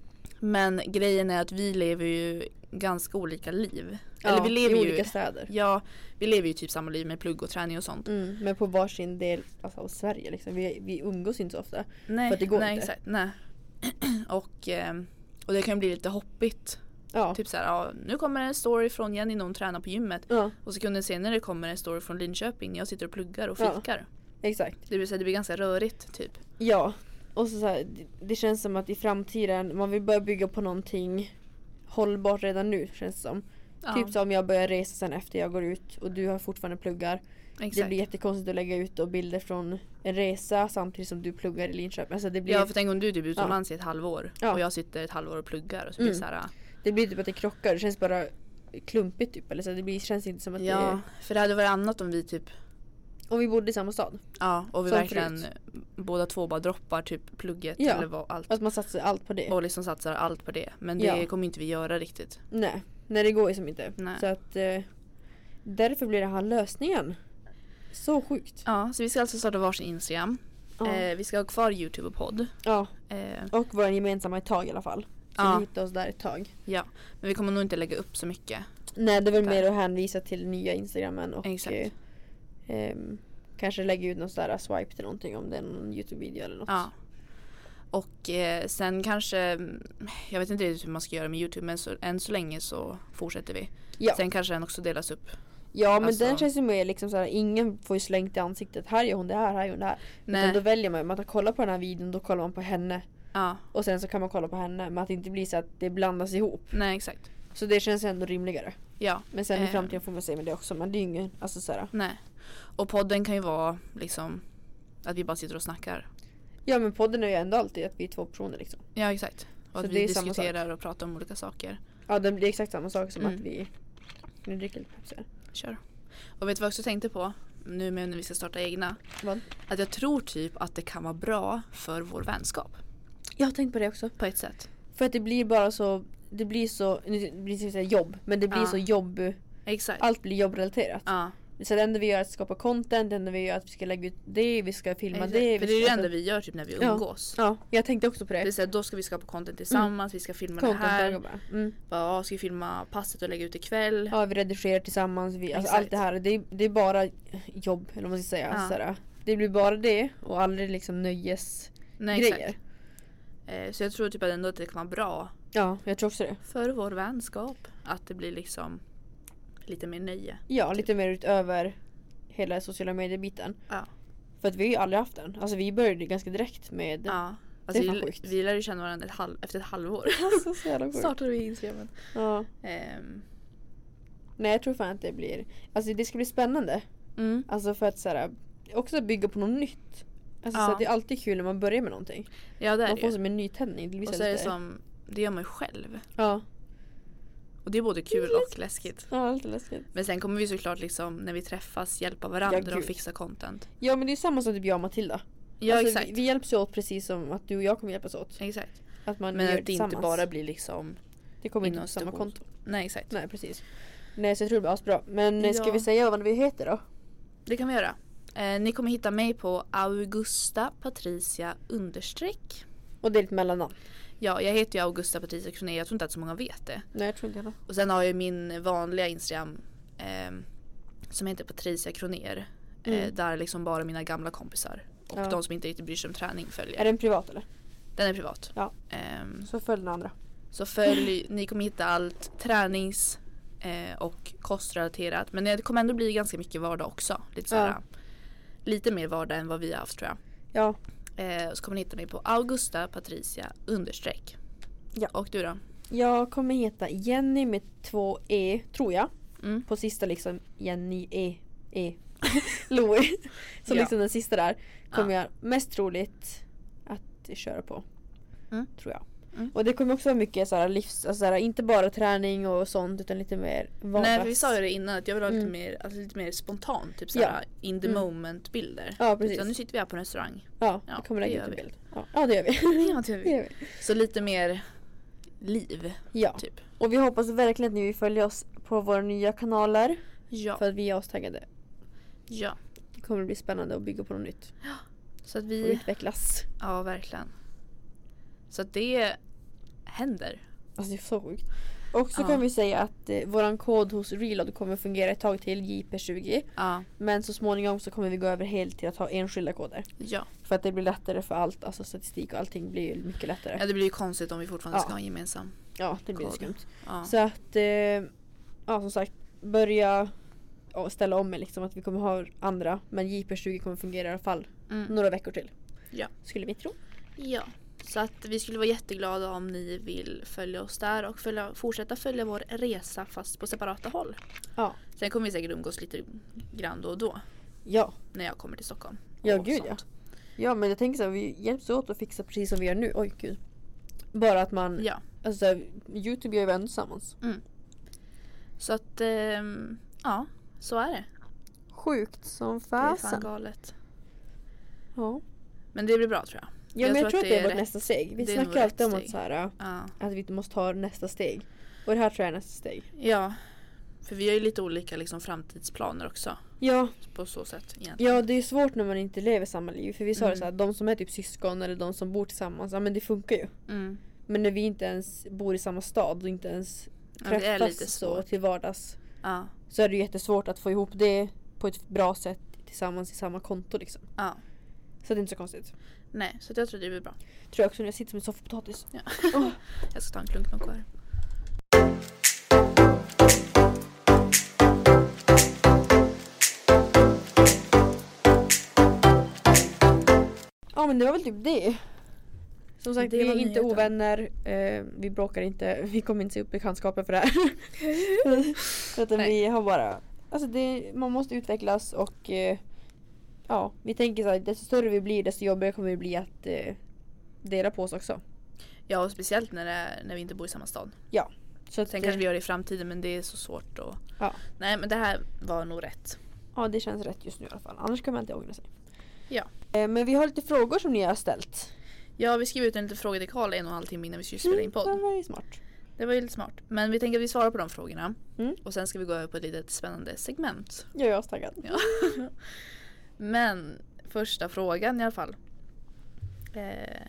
Speaker 2: Men grejen är att vi lever ju ganska olika liv. eller
Speaker 1: Ja,
Speaker 2: vi lever
Speaker 1: I
Speaker 2: ju,
Speaker 1: olika städer.
Speaker 2: ja, vi lever ju typ samma liv med plugg och träning och sånt.
Speaker 1: Mm, men på varsin del alltså, av Sverige liksom. Vi, vi umgås inte så ofta.
Speaker 2: Nej,
Speaker 1: Mm. För att det går
Speaker 2: nej
Speaker 1: inte.
Speaker 2: exakt. Nej. [clears throat] och, ehm, och det kan ju bli lite hoppigt.
Speaker 1: Ja.
Speaker 2: Typ såhär, ja, nu kommer en story från Jenny när hon tränar på gymmet.
Speaker 1: ja,
Speaker 2: Och sekunden senare kommer en story från Linköping när jag sitter och pluggar och
Speaker 1: Ja.
Speaker 2: fikar.
Speaker 1: exakt.
Speaker 2: Det vill säga det blir ganska rörigt typ.
Speaker 1: Ja. Och så, så här, det, det känns som att i framtiden, man vill börja bygga på någonting hållbart redan nu känns det som.
Speaker 2: Ja,
Speaker 1: Typ som om jag börjar resa sen efter jag går ut och du har fortfarande pluggar. Det
Speaker 2: exakt.
Speaker 1: blir jättekonstigt att lägga ut då bilder från en resa samtidigt som du pluggar i Linköping. Alltså det, blir,
Speaker 2: Ja för tänk om du är typ utomlands i ett halvår
Speaker 1: Ja.
Speaker 2: och jag sitter ett halvår och pluggar och så blir det såhär
Speaker 1: det blir typ att det krockar, det känns bara klumpigt typ. Eller så det blir, känns inte som att det
Speaker 2: Ja, för det hade varit annat om vi typ
Speaker 1: Om vi bodde i samma stad.
Speaker 2: Ja och vi
Speaker 1: Som
Speaker 2: verkligen båda två bara droppar typ plugget
Speaker 1: Ja.
Speaker 2: eller vad, allt
Speaker 1: Att man satsar allt på det.
Speaker 2: och liksom satsar allt på det. Men det
Speaker 1: Ja.
Speaker 2: kommer inte vi göra riktigt.
Speaker 1: Nej, nej det går ju som inte.
Speaker 2: Nej.
Speaker 1: Så att eh, därför blir det här lösningen. Så sjukt.
Speaker 2: Ja, så vi ska alltså starta varsin Instagram.
Speaker 1: Ja.
Speaker 2: Eh, vi ska ha kvar Youtube och podd.
Speaker 1: Ja,
Speaker 2: Eh,
Speaker 1: och vår gemensamma ett tag i alla fall. Så
Speaker 2: Ja.
Speaker 1: vi hittar oss där ett tag.
Speaker 2: ja, men vi kommer nog inte lägga upp så mycket.
Speaker 1: Nej det är väl
Speaker 2: Där.
Speaker 1: mer att hänvisa till nya instagrammen och
Speaker 2: Exakt.
Speaker 1: eh, ehm, kanske lägga ut någon sån där swipe till någonting om det är någon Youtube-video eller något.
Speaker 2: Ja. Och eh, sen kanske, mm, jag vet inte riktigt hur man ska göra med Youtube men så, än så länge så fortsätter vi.
Speaker 1: Ja.
Speaker 2: Sen kanske den också delas upp.
Speaker 1: Ja men
Speaker 2: Alltså-
Speaker 1: den känns ju mer liksom såhär, ingen får ju slängt i ansiktet. Här gör hon det här, här gör hon det här.
Speaker 2: Nej.
Speaker 1: Utan då väljer man, man tar kolla på den här videon, då kollar man på henne.
Speaker 2: Ja,
Speaker 1: Och sen så kan man kolla på henne men att det inte blir så att det blandas ihop.
Speaker 2: nej exakt.
Speaker 1: Så det känns ändå rimligare.
Speaker 2: Ja,
Speaker 1: Men sen i
Speaker 2: Eh.
Speaker 1: framtiden får man se med det också men det är ju ingen, alltså såhär.
Speaker 2: nej. Och podden kan ju vara liksom att vi bara sitter och snackar.
Speaker 1: Ja men podden är ju ändå alltid att vi är två personer liksom.
Speaker 2: Ja exakt. Och
Speaker 1: Så
Speaker 2: att
Speaker 1: det
Speaker 2: vi
Speaker 1: är samma sak.
Speaker 2: diskuterar och pratar om olika saker.
Speaker 1: Ja det det är exakt samma sak som
Speaker 2: Mm.
Speaker 1: att vi nu dricker lite Pepsi här.
Speaker 2: Kör. Och vet du vad jag också tänkte på? Nu med när vi ska starta egna.
Speaker 1: Vad?
Speaker 2: Att jag tror typ att det kan vara bra för vår vänskap.
Speaker 1: Jag har tänkt på det också.
Speaker 2: På ett sätt.
Speaker 1: För att det blir bara så, det blir så, nu blir det så att säga jobb men det blir
Speaker 2: Ja.
Speaker 1: så jobb,
Speaker 2: Exakt.
Speaker 1: allt blir jobbrelaterat.
Speaker 2: Ja.
Speaker 1: Så det enda vi gör är att skapa content, det enda vi gör är att vi ska lägga ut det, vi ska filma
Speaker 2: Exakt.
Speaker 1: det.
Speaker 2: För
Speaker 1: vi
Speaker 2: det är det
Speaker 1: ska-
Speaker 2: enda vi gör typ när vi
Speaker 1: Ja.
Speaker 2: umgås.
Speaker 1: Ja, Mm. jag tänkte också på
Speaker 2: Det är
Speaker 1: det.
Speaker 2: så här, då ska vi skapa content tillsammans, vi ska filma det här.
Speaker 1: Contentdagar bara. Mm.
Speaker 2: Bara, ja, ska vi filma passet och lägga ut ikväll?
Speaker 1: Ja, vi redigerar tillsammans, vi, alltså
Speaker 2: Exakt.
Speaker 1: allt det här. Det är, det är bara jobb, eller vad man ska säga.
Speaker 2: Ja.
Speaker 1: Så här, det blir bara det och aldrig liksom nöjesgrejer.
Speaker 2: Nej, exakt. Eh, så jag tror typ att ändå att det kan vara bra
Speaker 1: Ja, jag tror också det.
Speaker 2: för vår vänskap. Att det blir liksom lite mer nöje.
Speaker 1: Ja, lite mer utöver hela sociala medier-biten.
Speaker 2: Ja.
Speaker 1: För att vi har ju aldrig haft den. Alltså vi började ju ganska direkt med... [laughs]
Speaker 2: Ja. Alltså,
Speaker 1: fan
Speaker 2: vi,
Speaker 1: sjukt.
Speaker 2: vi lär ju känna varandra ett halv, efter ett halvår.
Speaker 1: Alltså så jävla [laughs] sjukt.
Speaker 2: Startade vi Instagramen.
Speaker 1: Ja.
Speaker 2: Ehm,
Speaker 1: Nej jag tror fan att det blir... Alltså det ska bli spännande.
Speaker 2: mm.
Speaker 1: Alltså för att så här, också bygga på något nytt. Alltså
Speaker 2: Ja.
Speaker 1: så att det är alltid kul när man börjar med någonting.
Speaker 2: Ja det är
Speaker 1: Man
Speaker 2: det
Speaker 1: får
Speaker 2: ju.
Speaker 1: som en nytändning. Det blir
Speaker 2: Och så
Speaker 1: här
Speaker 2: är det
Speaker 1: lite-
Speaker 2: som, det gör man ju själv.
Speaker 1: Ja.
Speaker 2: Och det är både kul och läskigt.
Speaker 1: ja, lite läskigt.
Speaker 2: Men sen kommer vi såklart liksom när vi träffas hjälpa
Speaker 1: Ja,
Speaker 2: varandra
Speaker 1: gud.
Speaker 2: och fixa content.
Speaker 1: Ja men det är ju samma som typ jag och Matilda.
Speaker 2: Ja
Speaker 1: alltså,
Speaker 2: exakt.
Speaker 1: Vi, vi hjälps ju åt precis som att du och jag kommer hjälpas åt.
Speaker 2: exakt.
Speaker 1: Att man gör
Speaker 2: Men att det inte
Speaker 1: tillsammans.
Speaker 2: bara blir liksom,
Speaker 1: Det kommer inte
Speaker 2: inom
Speaker 1: på samma
Speaker 2: stations-
Speaker 1: konto.
Speaker 2: nej exakt.
Speaker 1: Nej precis. Nej så jag tror det blir asbra. Men eh, ska
Speaker 2: Ja.
Speaker 1: vi säga vad vi heter då?
Speaker 2: Det kan vi göra. Eh, ni kommer hitta mig på Augusta Patricia understreck.
Speaker 1: Och det är ett mellannamn.
Speaker 2: Ja, jag heter ju Augusta Patricia Kronér. Jag tror inte att så många vet det.
Speaker 1: Nej jag tror inte heller.
Speaker 2: Och sen har jag min vanliga Instagram ehm, som heter Patricia Kronér. Eh,
Speaker 1: Mm.
Speaker 2: där liksom bara mina gamla kompisar och
Speaker 1: Ja.
Speaker 2: de som inte riktigt bryr sig om träning följer.
Speaker 1: Är den privat eller?
Speaker 2: Den är privat.
Speaker 1: Ja.
Speaker 2: Ehm,
Speaker 1: Så följ den andra.
Speaker 2: Så följ, ni kommer hitta allt tränings eh, och kostrelaterat. Men det kommer ändå bli ganska mycket vardag också. Lite, såhär,
Speaker 1: Ja.
Speaker 2: lite mer vardag än vad vi har haft tror jag.
Speaker 1: Ja.
Speaker 2: Eh, så kommer ni hitta mig på Augusta Patricia understreck.
Speaker 1: Ja.
Speaker 2: Och du då?
Speaker 1: Jag kommer heta Jenny med två E tror jag.
Speaker 2: Mm.
Speaker 1: På sista liksom Jenny E. E. [laughs] Louie. Som
Speaker 2: Ja.
Speaker 1: liksom den sista där. Kommer
Speaker 2: Ja.
Speaker 1: jag mest troligt att köra på.
Speaker 2: Mm.
Speaker 1: Tror jag.
Speaker 2: Mm.
Speaker 1: Och det kommer också vara mycket så här livs, alltså så här, inte bara träning och sånt utan lite mer vardags.
Speaker 2: Nej för vi sa ju det innan att jag vill ha lite
Speaker 1: Mm.
Speaker 2: mer, alltså, lite mer spontant. Typ såhär in the
Speaker 1: Mm.
Speaker 2: moment bilder.
Speaker 1: Ja
Speaker 2: Så nu
Speaker 1: precis.
Speaker 2: sitter vi här på en
Speaker 1: [laughs]
Speaker 2: restaurang.
Speaker 1: Ja,
Speaker 2: Ja,
Speaker 1: jag kommer lägga
Speaker 2: det
Speaker 1: ut
Speaker 2: gör
Speaker 1: en
Speaker 2: vi.
Speaker 1: bild. Ja, [laughs] ja det gör vi.
Speaker 2: Ja, det gör
Speaker 1: det
Speaker 2: vi.
Speaker 1: gör vi.
Speaker 2: så lite mer liv
Speaker 1: Ja.
Speaker 2: typ.
Speaker 1: Och vi hoppas verkligen att ni vill följa oss på våra nya kanaler.
Speaker 2: Ja.
Speaker 1: För att vi är astaggade.
Speaker 2: ja.
Speaker 1: Det kommer bli spännande att bygga på något nytt.
Speaker 2: Så att
Speaker 1: Och
Speaker 2: vi
Speaker 1: utvecklas.
Speaker 2: Ja, verkligen. Så att det händer.
Speaker 1: Alltså det är så sjukt. Och så
Speaker 2: Ja.
Speaker 1: kan vi säga att eh, våran kod hos Reload kommer fungera ett tag till, JP20.
Speaker 2: Ja.
Speaker 1: Men så småningom så kommer vi gå över helt till att ha enskilda koder.
Speaker 2: Ja.
Speaker 1: För att det blir lättare för allt, alltså statistik och allting blir ju mycket lättare.
Speaker 2: ja, det blir ju konstigt om vi fortfarande
Speaker 1: Ja.
Speaker 2: ska ha en gemensam.
Speaker 1: Ja, det blir
Speaker 2: Kod.
Speaker 1: skumt.
Speaker 2: Ja.
Speaker 1: Så att, eh, ja som sagt, börja ja, ställa om er liksom att vi kommer ha andra. Men JP20 kommer fungera i alla fall
Speaker 2: Mm.
Speaker 1: några veckor till.
Speaker 2: Ja.
Speaker 1: Skulle vi tro.
Speaker 2: ja. Så att vi skulle vara jätteglada om ni vill följa oss där och följa, fortsätta följa vår resa fast på separata håll.
Speaker 1: Ja.
Speaker 2: Sen kommer vi säkert umgås lite grann då och då
Speaker 1: Ja.
Speaker 2: när jag kommer till Stockholm.
Speaker 1: Ja,
Speaker 2: och
Speaker 1: gud,
Speaker 2: sånt.
Speaker 1: ja. Ja men jag tänker så här, vi hjälps åt att fixa precis som vi gör nu. Oj gud. Bara att man
Speaker 2: ja.
Speaker 1: Alltså såhär, Youtube gör ju vi ändå tillsammans.
Speaker 2: Så att, ehm, ja, så är det.
Speaker 1: Sjukt som
Speaker 2: Det är fan
Speaker 1: fasen.
Speaker 2: galet.
Speaker 1: Ja.
Speaker 2: Men det blir bra tror jag.
Speaker 1: ja men jag tror att det är vårt nästa steg. Vi
Speaker 2: det är nog
Speaker 1: snackar alltid
Speaker 2: rätt
Speaker 1: om att,
Speaker 2: steg.
Speaker 1: såhär,
Speaker 2: Ja.
Speaker 1: att vi måste ta nästa steg. Och det här tror jag är nästa steg.
Speaker 2: Ja. För vi har ju lite olika liksom, framtidsplaner också.
Speaker 1: Ja,
Speaker 2: På så sätt egentligen.
Speaker 1: ja det är svårt när man inte lever samma liv. För vi sa det
Speaker 2: Mm.
Speaker 1: såhär, de som är typ syskon eller de som bor tillsammans, ja men det funkar ju.
Speaker 2: Mm.
Speaker 1: Men när vi inte ens bor i samma stad och inte ens
Speaker 2: Ja, det är
Speaker 1: träffas
Speaker 2: lite
Speaker 1: så
Speaker 2: svårt.
Speaker 1: till vardags.
Speaker 2: Ja.
Speaker 1: Så är det ju jättesvårt att få ihop det på ett bra sätt tillsammans i samma konto liksom.
Speaker 2: ja.
Speaker 1: Så det är inte så konstigt.
Speaker 2: Nej, så att jag tror det blir bra.
Speaker 1: Tror jag också när jag sitter som en soffpotatis.
Speaker 2: Jag ska ta en klunk Nocco här.
Speaker 1: Ja men det var väl typ det. Som sagt,
Speaker 2: Det
Speaker 1: vi är
Speaker 2: var
Speaker 1: inte
Speaker 2: nyheten.
Speaker 1: ovänner, eh, vi bråkar inte, [laughs] vi kommer inte se upp bekantskapen för det här. [laughs] Utan
Speaker 2: Nej.
Speaker 1: vi har bara, alltså det, man måste utvecklas och eh, ja, vi tänker så här, desto större vi blir desto jobbigare kommer det bli att eh, dela på oss också.
Speaker 2: Ja, och speciellt när, det är, när vi inte bor i samma stad.
Speaker 1: Så att,
Speaker 2: Sen
Speaker 1: eh,
Speaker 2: kanske vi gör det i framtiden men det är så svårt att...
Speaker 1: Ja.
Speaker 2: Nej, men det här var nog rätt.
Speaker 1: Ja det känns rätt just nu i alla fall, annars kan man inte ångra sig.
Speaker 2: Ja.
Speaker 1: Eh, men vi har lite frågor som ni har ställt.
Speaker 2: Ja, vi skrev ut en liten fråga till Karl en och en halv timme innan vi skulle spela in
Speaker 1: Mm,
Speaker 2: podd.
Speaker 1: Det var ju smart.
Speaker 2: Det var ju lite smart. Men vi tänker att vi svarar på de frågorna.
Speaker 1: Mm.
Speaker 2: Och sen ska vi gå över på ett litet spännande segment.
Speaker 1: Jag är astaggad.
Speaker 2: Ja. Men första frågan i alla fall. Eh,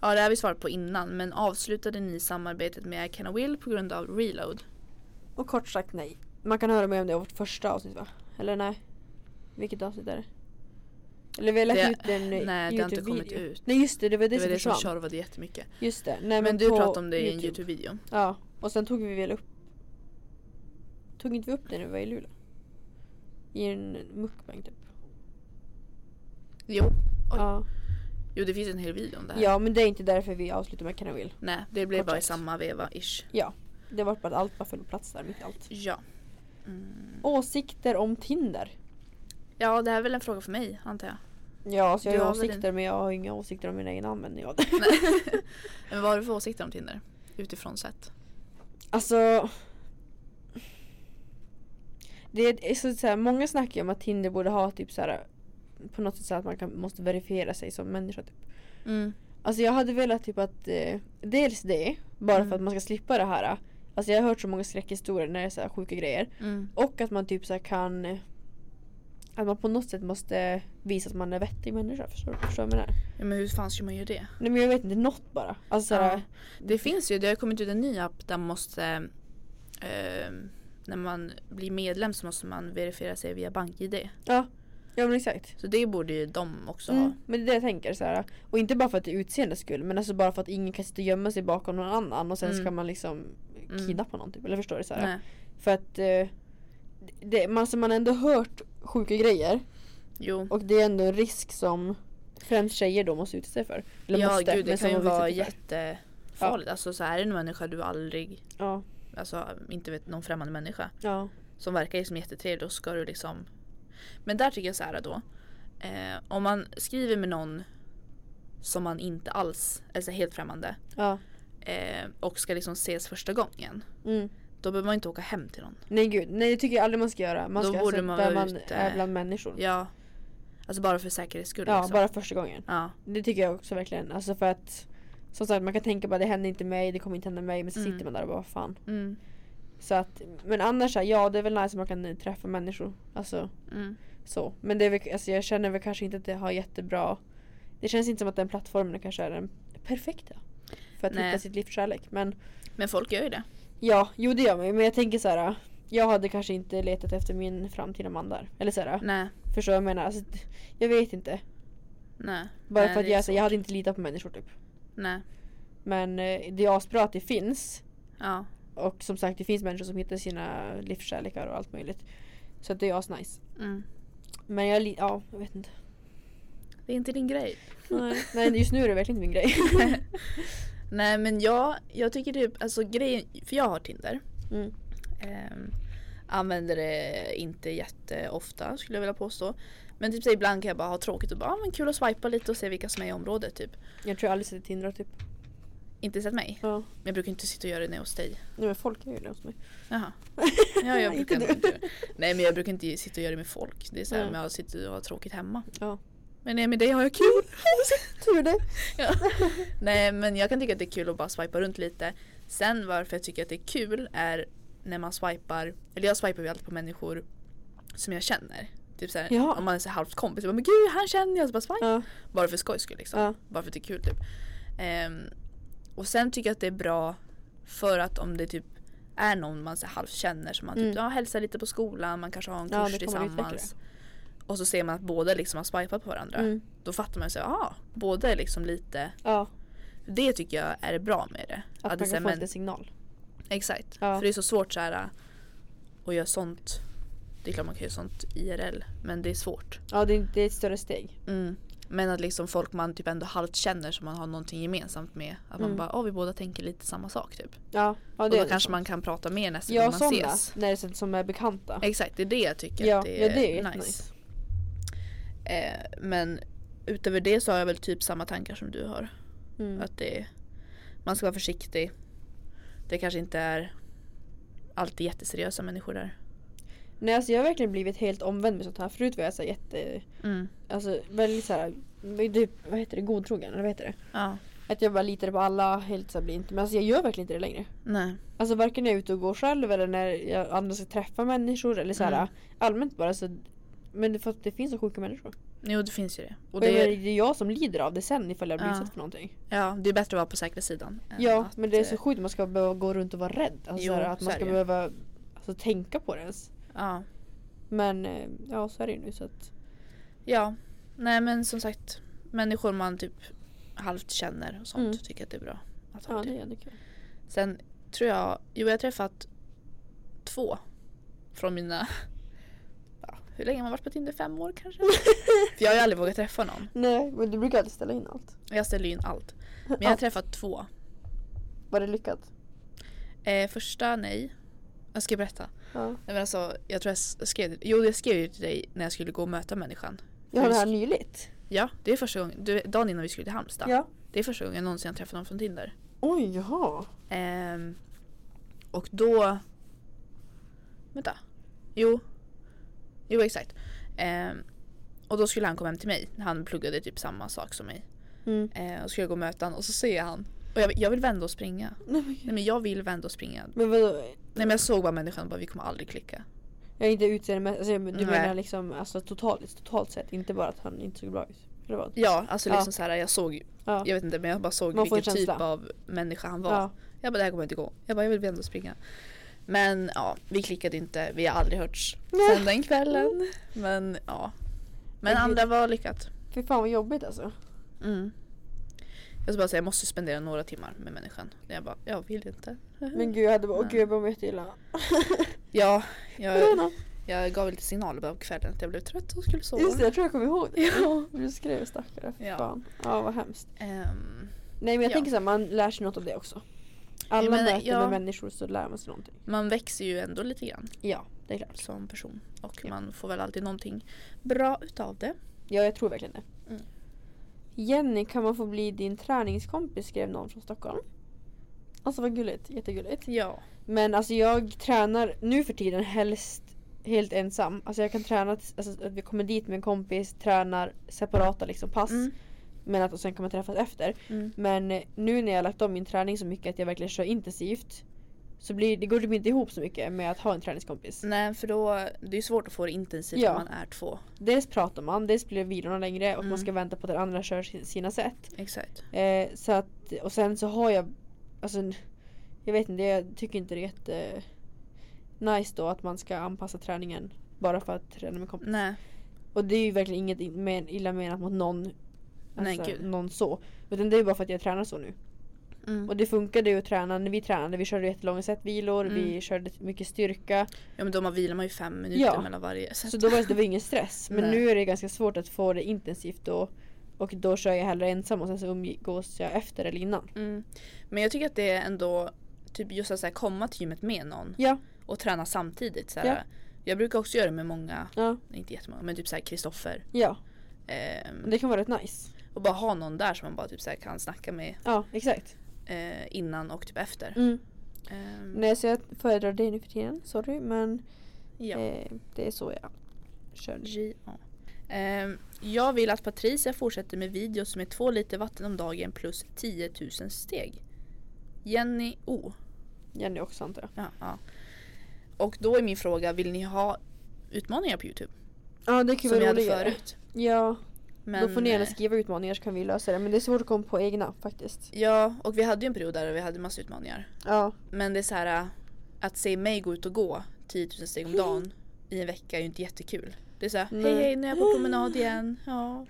Speaker 2: ja, det har vi svarat på innan. Men avslutade ni samarbetet med I Can I Will på grund av reload?
Speaker 1: Och kort sagt nej. Man kan höra mer om det i vårt första avsnitt va? Eller nej? Vilket avsnitt är det? Eller vi har lagt
Speaker 2: Det-
Speaker 1: ut en
Speaker 2: nej, det har inte
Speaker 1: YouTube-video.
Speaker 2: kommit ut.
Speaker 1: Nej just det, det var det,
Speaker 2: Det var det
Speaker 1: som
Speaker 2: som
Speaker 1: försvann.
Speaker 2: tjorvade jättemycket.
Speaker 1: Just det. Nej, men,
Speaker 2: Men, du
Speaker 1: på
Speaker 2: pratade om det i en Youtube-video.
Speaker 1: Ja, och sen tog vi väl upp... Tog inte vi upp det när vi var i Luleå? I en mukbang typ.
Speaker 2: Jo. Oj.
Speaker 1: Ja.
Speaker 2: jo, det finns en hel video om det här.
Speaker 1: ja, men det är inte därför vi avslutar med Can I Will.
Speaker 2: Nej, det blev
Speaker 1: Kort
Speaker 2: bara i
Speaker 1: sagt.
Speaker 2: samma veva-ish.
Speaker 1: Ja, det var bara att allt bara föll på plats där, mitt i allt.
Speaker 2: Ja. Mm.
Speaker 1: Åsikter om Tinder.
Speaker 2: Ja, det här är väl en fråga för mig antar jag.
Speaker 1: Ja, så jag
Speaker 2: Du
Speaker 1: har
Speaker 2: har väl
Speaker 1: åsikter men jag har inga åsikter om min egen användning av det.
Speaker 2: Men vad har du för åsikter om Tinder? Utifrån sett.
Speaker 1: [laughs] Alltså... Det är alltså, så, så här, många snackar ju om att Tinder borde ha typ så här på något sätt så att man kan, måste verifiera sig som människa. Typ.
Speaker 2: Mm.
Speaker 1: Alltså jag hade velat typ att eh, dels det, bara
Speaker 2: Mm.
Speaker 1: för att man ska slippa det här. Alltså jag har hört så många skräckhistorier när det är så här sjuka grejer.
Speaker 2: Mm.
Speaker 1: Och att man typ så här kan att man på något sätt måste visa att man är vettig människa. Förstår förstår du vad jag menar?
Speaker 2: Ja, men hur fan ska man göra det?
Speaker 1: Nej men jag vet inte, något bara. Alltså så här,
Speaker 2: Ja. Det finns ju, det har kommit ut en ny app där man måste eh, när man blir medlem så måste man verifiera sig via BankID.
Speaker 1: ja. ja men exakt.
Speaker 2: Så det borde ju de också
Speaker 1: Mm,
Speaker 2: ha.
Speaker 1: men det är det jag tänker så här. Och inte bara för att det är utseendes skull men alltså bara för att ingen kan sitta och gömma sig bakom någon annan och sen
Speaker 2: Mm.
Speaker 1: ska man liksom
Speaker 2: Mm.
Speaker 1: kidnappa någon typ. Eller förstår du? Så här.
Speaker 2: Nej.
Speaker 1: För att eh, det, man, alltså, man har ändå hört sjuka grejer
Speaker 2: Jo.
Speaker 1: Och det är ändå en risk som främst tjejer då måste utsätta sig för. Eller
Speaker 2: ja
Speaker 1: måste,
Speaker 2: gud det
Speaker 1: men som
Speaker 2: kan ju
Speaker 1: de
Speaker 2: vara
Speaker 1: utsätter sig
Speaker 2: jättefarligt. Alltså så här är det en människa du aldrig,
Speaker 1: för. Ja,
Speaker 2: alltså inte vet någon främmande människa
Speaker 1: ja.
Speaker 2: som verkar liksom jättetrevlig då ska du liksom Men där tycker jag så här då. Eh, om man skriver med någon som man inte alls, alltså helt främmande
Speaker 1: ja.
Speaker 2: eh, och ska liksom ses första gången.
Speaker 1: Mm.
Speaker 2: Då behöver man inte åka hem till någon.
Speaker 1: Nej gud, nej det tycker jag aldrig man ska göra. Man
Speaker 2: Då
Speaker 1: ska
Speaker 2: borde
Speaker 1: alltså,
Speaker 2: man
Speaker 1: där
Speaker 2: vara
Speaker 1: man
Speaker 2: ute.
Speaker 1: är bland människor. Ja,
Speaker 2: Ja. Alltså bara för säkerhets skull. liksom.
Speaker 1: bara första gången.
Speaker 2: ja.
Speaker 1: Det tycker jag också verkligen. Alltså för att som sagt man kan tänka bara det händer inte mig, det kommer inte hända mig men så
Speaker 2: Mm.
Speaker 1: sitter man där och bara vad fan.
Speaker 2: Mm.
Speaker 1: Så att, men annars så här, ja det är väl nice att man kan eh, träffa människor. Alltså
Speaker 2: Mm.
Speaker 1: så. Men det är väl, alltså, jag känner väl kanske inte att det har jättebra Det känns inte som att den plattformen kanske är den perfekta. För att
Speaker 2: Nej.
Speaker 1: hitta sitt livs kärlek. Men
Speaker 2: Men folk gör ju det.
Speaker 1: Ja, jo det gör man ju. Men jag tänker så här. Jag hade kanske inte letat efter min framtida man där. Eller så här,
Speaker 2: Nej.
Speaker 1: förstår du vad jag menar? Alltså, d- jag vet inte.
Speaker 2: Nej.
Speaker 1: Bara
Speaker 2: Nej,
Speaker 1: för att
Speaker 2: det är
Speaker 1: jag, så,
Speaker 2: svårt.
Speaker 1: jag hade inte litat på människor typ.
Speaker 2: Nej.
Speaker 1: Men eh, det är asbra att det finns.
Speaker 2: Ja.
Speaker 1: Och som sagt det finns människor som hittar sina livskärlekar och allt möjligt. Så att det är asnice.
Speaker 2: Mm.
Speaker 1: Men jag, li- ja, jag vet inte.
Speaker 2: Det är inte din grej.
Speaker 1: [laughs] Nej. Nej just nu är det verkligen inte min [laughs] grej.
Speaker 2: Nej men jag, jag tycker typ, alltså grejen, för jag har Tinder.
Speaker 1: Mm.
Speaker 2: Ehm, använder det inte jätteofta skulle jag vilja påstå. Men typ så ibland kan jag bara ha tråkigt och bara, ah, men kul att swipa lite och se vilka som är i området typ.
Speaker 1: Jag tror jag aldrig sett Tinder typ.
Speaker 2: Inte sett mig.
Speaker 1: Ja.
Speaker 2: Men Jag brukar inte sitta och göra det när jag är hos dig.
Speaker 1: Nej men folk är ju det hos mig. [laughs]
Speaker 2: Jaha. Ja, jag
Speaker 1: Inte
Speaker 2: brukar inte
Speaker 1: du.
Speaker 2: inte göra- Nej men jag brukar inte sitta och göra det med folk. Det är såhär
Speaker 1: Nej.
Speaker 2: om jag sitter och har tråkigt hemma.
Speaker 1: Ja. [laughs]
Speaker 2: Men nej, med dig har jag kul.
Speaker 1: Tur det.
Speaker 2: ja. Nej men jag kan tycka att det är kul att bara swipa runt lite. Sen varför jag tycker att det är kul är när man swipar, eller jag swipar ju alltid på människor som jag känner. Typ såhär,
Speaker 1: Ja.
Speaker 2: om man är så här halvt kompis, jag bara, men gud han känner jag, så bara swipa.
Speaker 1: Ja.
Speaker 2: Bara för skojs skull liksom.
Speaker 1: Ja.
Speaker 2: Bara för att det är kul typ. Ehm, och sen tycker jag att det är bra för att om det typ är någon man så här halvt känner som man typ
Speaker 1: Mm.
Speaker 2: ja, hälsar lite på skolan, man kanske har en
Speaker 1: Ja,
Speaker 2: kurs
Speaker 1: det kommer utveckla
Speaker 2: tillsammans. Och så ser man att båda liksom har swipat på varandra.
Speaker 1: Mm.
Speaker 2: Då fattar man ju såhär, ja, båda är liksom lite
Speaker 1: ja.
Speaker 2: Det tycker jag är bra med det.
Speaker 1: Att,
Speaker 2: Att det
Speaker 1: man
Speaker 2: så här,
Speaker 1: kan få
Speaker 2: men,
Speaker 1: lite signal.
Speaker 2: Exakt.
Speaker 1: Ja.
Speaker 2: För det är så svårt såhär att göra sånt. Det är klart man kan göra sånt IRL men det är svårt.
Speaker 1: Ja det är, det är ett större steg.
Speaker 2: Mm. Men att liksom folk man typ ändå halvt känner som man har någonting gemensamt med. Att
Speaker 1: Mm.
Speaker 2: man bara, åh vi båda tänker lite samma sak typ.
Speaker 1: Ja, ja
Speaker 2: och
Speaker 1: det
Speaker 2: då
Speaker 1: är det
Speaker 2: kanske
Speaker 1: så.
Speaker 2: man kan prata mer nästa gång
Speaker 1: Ja
Speaker 2: man
Speaker 1: sådana,
Speaker 2: ses.
Speaker 1: när det är så- som är bekanta.
Speaker 2: Exakt, det är det jag tycker
Speaker 1: Ja,
Speaker 2: att det
Speaker 1: ja,
Speaker 2: är,
Speaker 1: det är
Speaker 2: nice.
Speaker 1: nice.
Speaker 2: Eh, men utöver det så har jag väl typ samma tankar som du har.
Speaker 1: Mm.
Speaker 2: Att det, man ska vara försiktig. Det kanske inte är alltid jätteseriösa människor där.
Speaker 1: Nej alltså jag har verkligen blivit helt omvänd med sånt här. Förut var jag så här jätte,
Speaker 2: Mm.
Speaker 1: alltså väldigt så här, typ, vad heter det, godtrogen eller vad heter det?
Speaker 2: Ja.
Speaker 1: Att jag bara litade på alla, helt så här blir inte. Men alltså jag gör verkligen inte det längre.
Speaker 2: Nej.
Speaker 1: Alltså varken när jag är ute och går själv eller när jag andra ska träffa människor eller så här
Speaker 2: Mm.
Speaker 1: allmänt bara så men det, för att det finns så sjuka människor.
Speaker 2: Jo det finns ju det. Och
Speaker 1: Och jag
Speaker 2: det,
Speaker 1: menar, det är jag som lider av det sen ifall jag blir
Speaker 2: Ja.
Speaker 1: utsatt för någonting.
Speaker 2: ja, det är bättre att vara på säkra sidan. än
Speaker 1: Ja,
Speaker 2: att,
Speaker 1: men det är
Speaker 2: eh,
Speaker 1: så sjukt att man ska behöva gå runt och vara rädd. Alltså
Speaker 2: Jo,
Speaker 1: så här, att
Speaker 2: så
Speaker 1: man
Speaker 2: är
Speaker 1: ska
Speaker 2: det ju.
Speaker 1: behöva alltså, tänka på det ens.
Speaker 2: Ja.
Speaker 1: Men eh, ja, så är det ju nu så att
Speaker 2: ja. Nej men som sagt. Människor man typ halvt känner och sånt
Speaker 1: Mm.
Speaker 2: tycker att det är bra. Att ha
Speaker 1: ja,
Speaker 2: det.
Speaker 1: det är jättekul.
Speaker 2: Sen tror jag, jo jag har träffat två från mina, [laughs] ja, hur länge har man varit på Tinder? Fem år
Speaker 1: [laughs]
Speaker 2: kanske? För jag har ju aldrig vågat träffa någon.
Speaker 1: Nej, men du brukar alltid ställa in allt.
Speaker 2: Jag ställer ju in allt. Men jag har
Speaker 1: Allt.
Speaker 2: träffat två.
Speaker 1: Var det lyckat?
Speaker 2: Eh, första, nej. Jag ska berätta.
Speaker 1: Ja.
Speaker 2: Nej, men alltså, jag tror jag s- skrev, jo jag skrev ju till dig när jag skulle gå och möta människan.
Speaker 1: Jag har det här
Speaker 2: Just-
Speaker 1: nyligt.
Speaker 2: Ja, det är första gången, du, dagen innan vi skulle till Halmstad.
Speaker 1: Ja.
Speaker 2: Det är första gången jag någonsin har träffat någon från Tinder.
Speaker 1: Oj, jaha.
Speaker 2: Ehm, och då... Vänta. Jo. Jo exakt. Ehm, och då skulle han komma hem till mig. Han pluggade typ samma sak som mig.
Speaker 1: Mm.
Speaker 2: Ehm, och skulle jag gå och möta honom och så ser jag han. Och jag, jag vill vända och springa.
Speaker 1: Nej, men, gud.
Speaker 2: Nej men jag vill vända och springa. Nej
Speaker 1: men vadå?
Speaker 2: men jag såg bara människan och bara vi kommer aldrig klicka.
Speaker 1: Jag är inte utseendemässigt, alltså, jag- du
Speaker 2: Nej.
Speaker 1: menar liksom alltså, totalt, totalt sett, inte bara att han inte såg bra ut. Eller vad?
Speaker 2: Ja alltså
Speaker 1: Ja.
Speaker 2: liksom så här jag såg,
Speaker 1: Ja.
Speaker 2: jag vet inte men jag bara såg
Speaker 1: Man får en
Speaker 2: vilken typ
Speaker 1: känsla.
Speaker 2: av människa han var.
Speaker 1: ja.
Speaker 2: Jag bara det här kommer inte gå. Jag bara jag vill vända och springa. Men ja, vi klickade inte. Vi har aldrig hörts sen den kvällen. Men ja. Men
Speaker 1: Men
Speaker 2: andra var lyckat.
Speaker 1: Fy fan vad jobbigt alltså.
Speaker 2: Mm. Jag ska bara säga jag måste spendera några timmar med människan. Jag bara jag vill inte.
Speaker 1: Men gud jag hade bara, åh
Speaker 2: Nej.
Speaker 1: gud jag ber om jätteilla.
Speaker 2: Ja, jag,
Speaker 1: Lena,
Speaker 2: jag gav lite signaler bara på kvällen att jag blev trött och skulle sova.
Speaker 1: Just det, jag tror jag kommer ihåg det.
Speaker 2: Ja.
Speaker 1: Du skrev stackare, fy
Speaker 2: Ja.
Speaker 1: fan. Ja vad hemskt.
Speaker 2: Ehm,
Speaker 1: Nej men jag
Speaker 2: Ja.
Speaker 1: tänker såhär, man lär sig något av det också. Alla
Speaker 2: men,
Speaker 1: möten
Speaker 2: ja.
Speaker 1: med människor så lär man sig någonting.
Speaker 2: man växer ju ändå lite grann
Speaker 1: Ja, det är klart.
Speaker 2: som person. Och
Speaker 1: Ja.
Speaker 2: man får väl alltid någonting bra utav det.
Speaker 1: Ja, jag tror verkligen det.
Speaker 2: Mm.
Speaker 1: Jenny, kan man få bli din träningskompis? skrev någon från Stockholm. Alltså vad gulligt, jättegulligt.
Speaker 2: Ja.
Speaker 1: Men alltså jag tränar nu för tiden helst helt ensam. Alltså jag kan träna, tills- alltså att vi kommer dit med en kompis, tränar separata liksom pass.
Speaker 2: Mm.
Speaker 1: Men att och sen kan man träffas efter.
Speaker 2: Mm.
Speaker 1: Men eh, nu när jag har lagt om min träning så mycket att jag verkligen kör intensivt. Så blir, det går typ inte ihop så mycket med att ha en träningskompis.
Speaker 2: Nej för då, det är svårt att få det intensivt
Speaker 1: Ja.
Speaker 2: när man är två.
Speaker 1: Dels pratar man, dels blir vilorna längre och
Speaker 2: Mm.
Speaker 1: man ska vänta på att den andra kör sin- sina sätt.
Speaker 2: Exakt.
Speaker 1: Eh, så att, och sen så har jag, alltså n- jag vet inte, jag tycker inte det är jätte nice då att man ska anpassa träningen bara för att träna med kompis.
Speaker 2: Nej.
Speaker 1: Och det är ju verkligen inget in- men, illa menat mot någon,
Speaker 2: Nej,
Speaker 1: alltså,
Speaker 2: gud.
Speaker 1: någon så. Utan det är bara för att jag tränar så nu. Och det funkade ju att träna när vi tränade, vi körde jättelånga setvilor, vi
Speaker 2: Mm.
Speaker 1: körde mycket styrka.
Speaker 2: Ja men då man vilar man ju fem minuter
Speaker 1: Ja.
Speaker 2: mellan varje set.
Speaker 1: Så då var det, det var ingen stress. Men
Speaker 2: Nej.
Speaker 1: nu är det ganska svårt att få det intensivt då. Och då kör jag hellre ensam och sen så umgås jag efter eller innan.
Speaker 2: [laughs] Mm. Men jag tycker att det är ändå, typ just att så här, komma till gymmet med någon
Speaker 1: Ja,
Speaker 2: och träna samtidigt. Så här, Jag brukar också göra det med många,
Speaker 1: ja,
Speaker 2: inte jättemånga, men typ såhär Kristoffer.
Speaker 1: ja.
Speaker 2: Ehm,
Speaker 1: Det kan vara rätt nice.
Speaker 2: och bara ha någon där som man bara typ så här, kan snacka med
Speaker 1: Ja, exakt.
Speaker 2: eh, innan och typ efter. Ehm,
Speaker 1: Nej, så jag föredrar det nu för tiden. Sorry, men
Speaker 2: ja.
Speaker 1: eh, det är så jag kör. nu.
Speaker 2: J.A.. Ehm, jag vill att Patricia fortsätter med videos med två liter vatten om dagen plus 10 000 steg. Jenny O.
Speaker 1: Jenny också antar jag.
Speaker 2: Ja, ja. Och då är min fråga, vill ni ha utmaningar på Youtube?
Speaker 1: Ja, det kan ju
Speaker 2: som vi
Speaker 1: vara
Speaker 2: hade
Speaker 1: roligare.
Speaker 2: förut.
Speaker 1: Ja, då
Speaker 2: Men,
Speaker 1: får ni gärna
Speaker 2: eh,
Speaker 1: skriva utmaningar så kan vi lösa det. Men det är svårt att komma på egna faktiskt.
Speaker 2: eh, Ja, och vi hade ju en period där vi hade massa utmaningar.
Speaker 1: Ja,
Speaker 2: Men det är så här, eh, att se mig gå ut och gå 10 000 steg om dagen i en vecka är ju inte jättekul. Det är så här,
Speaker 1: Nej.
Speaker 2: hej hej nu är jag på promenad igen. Ja,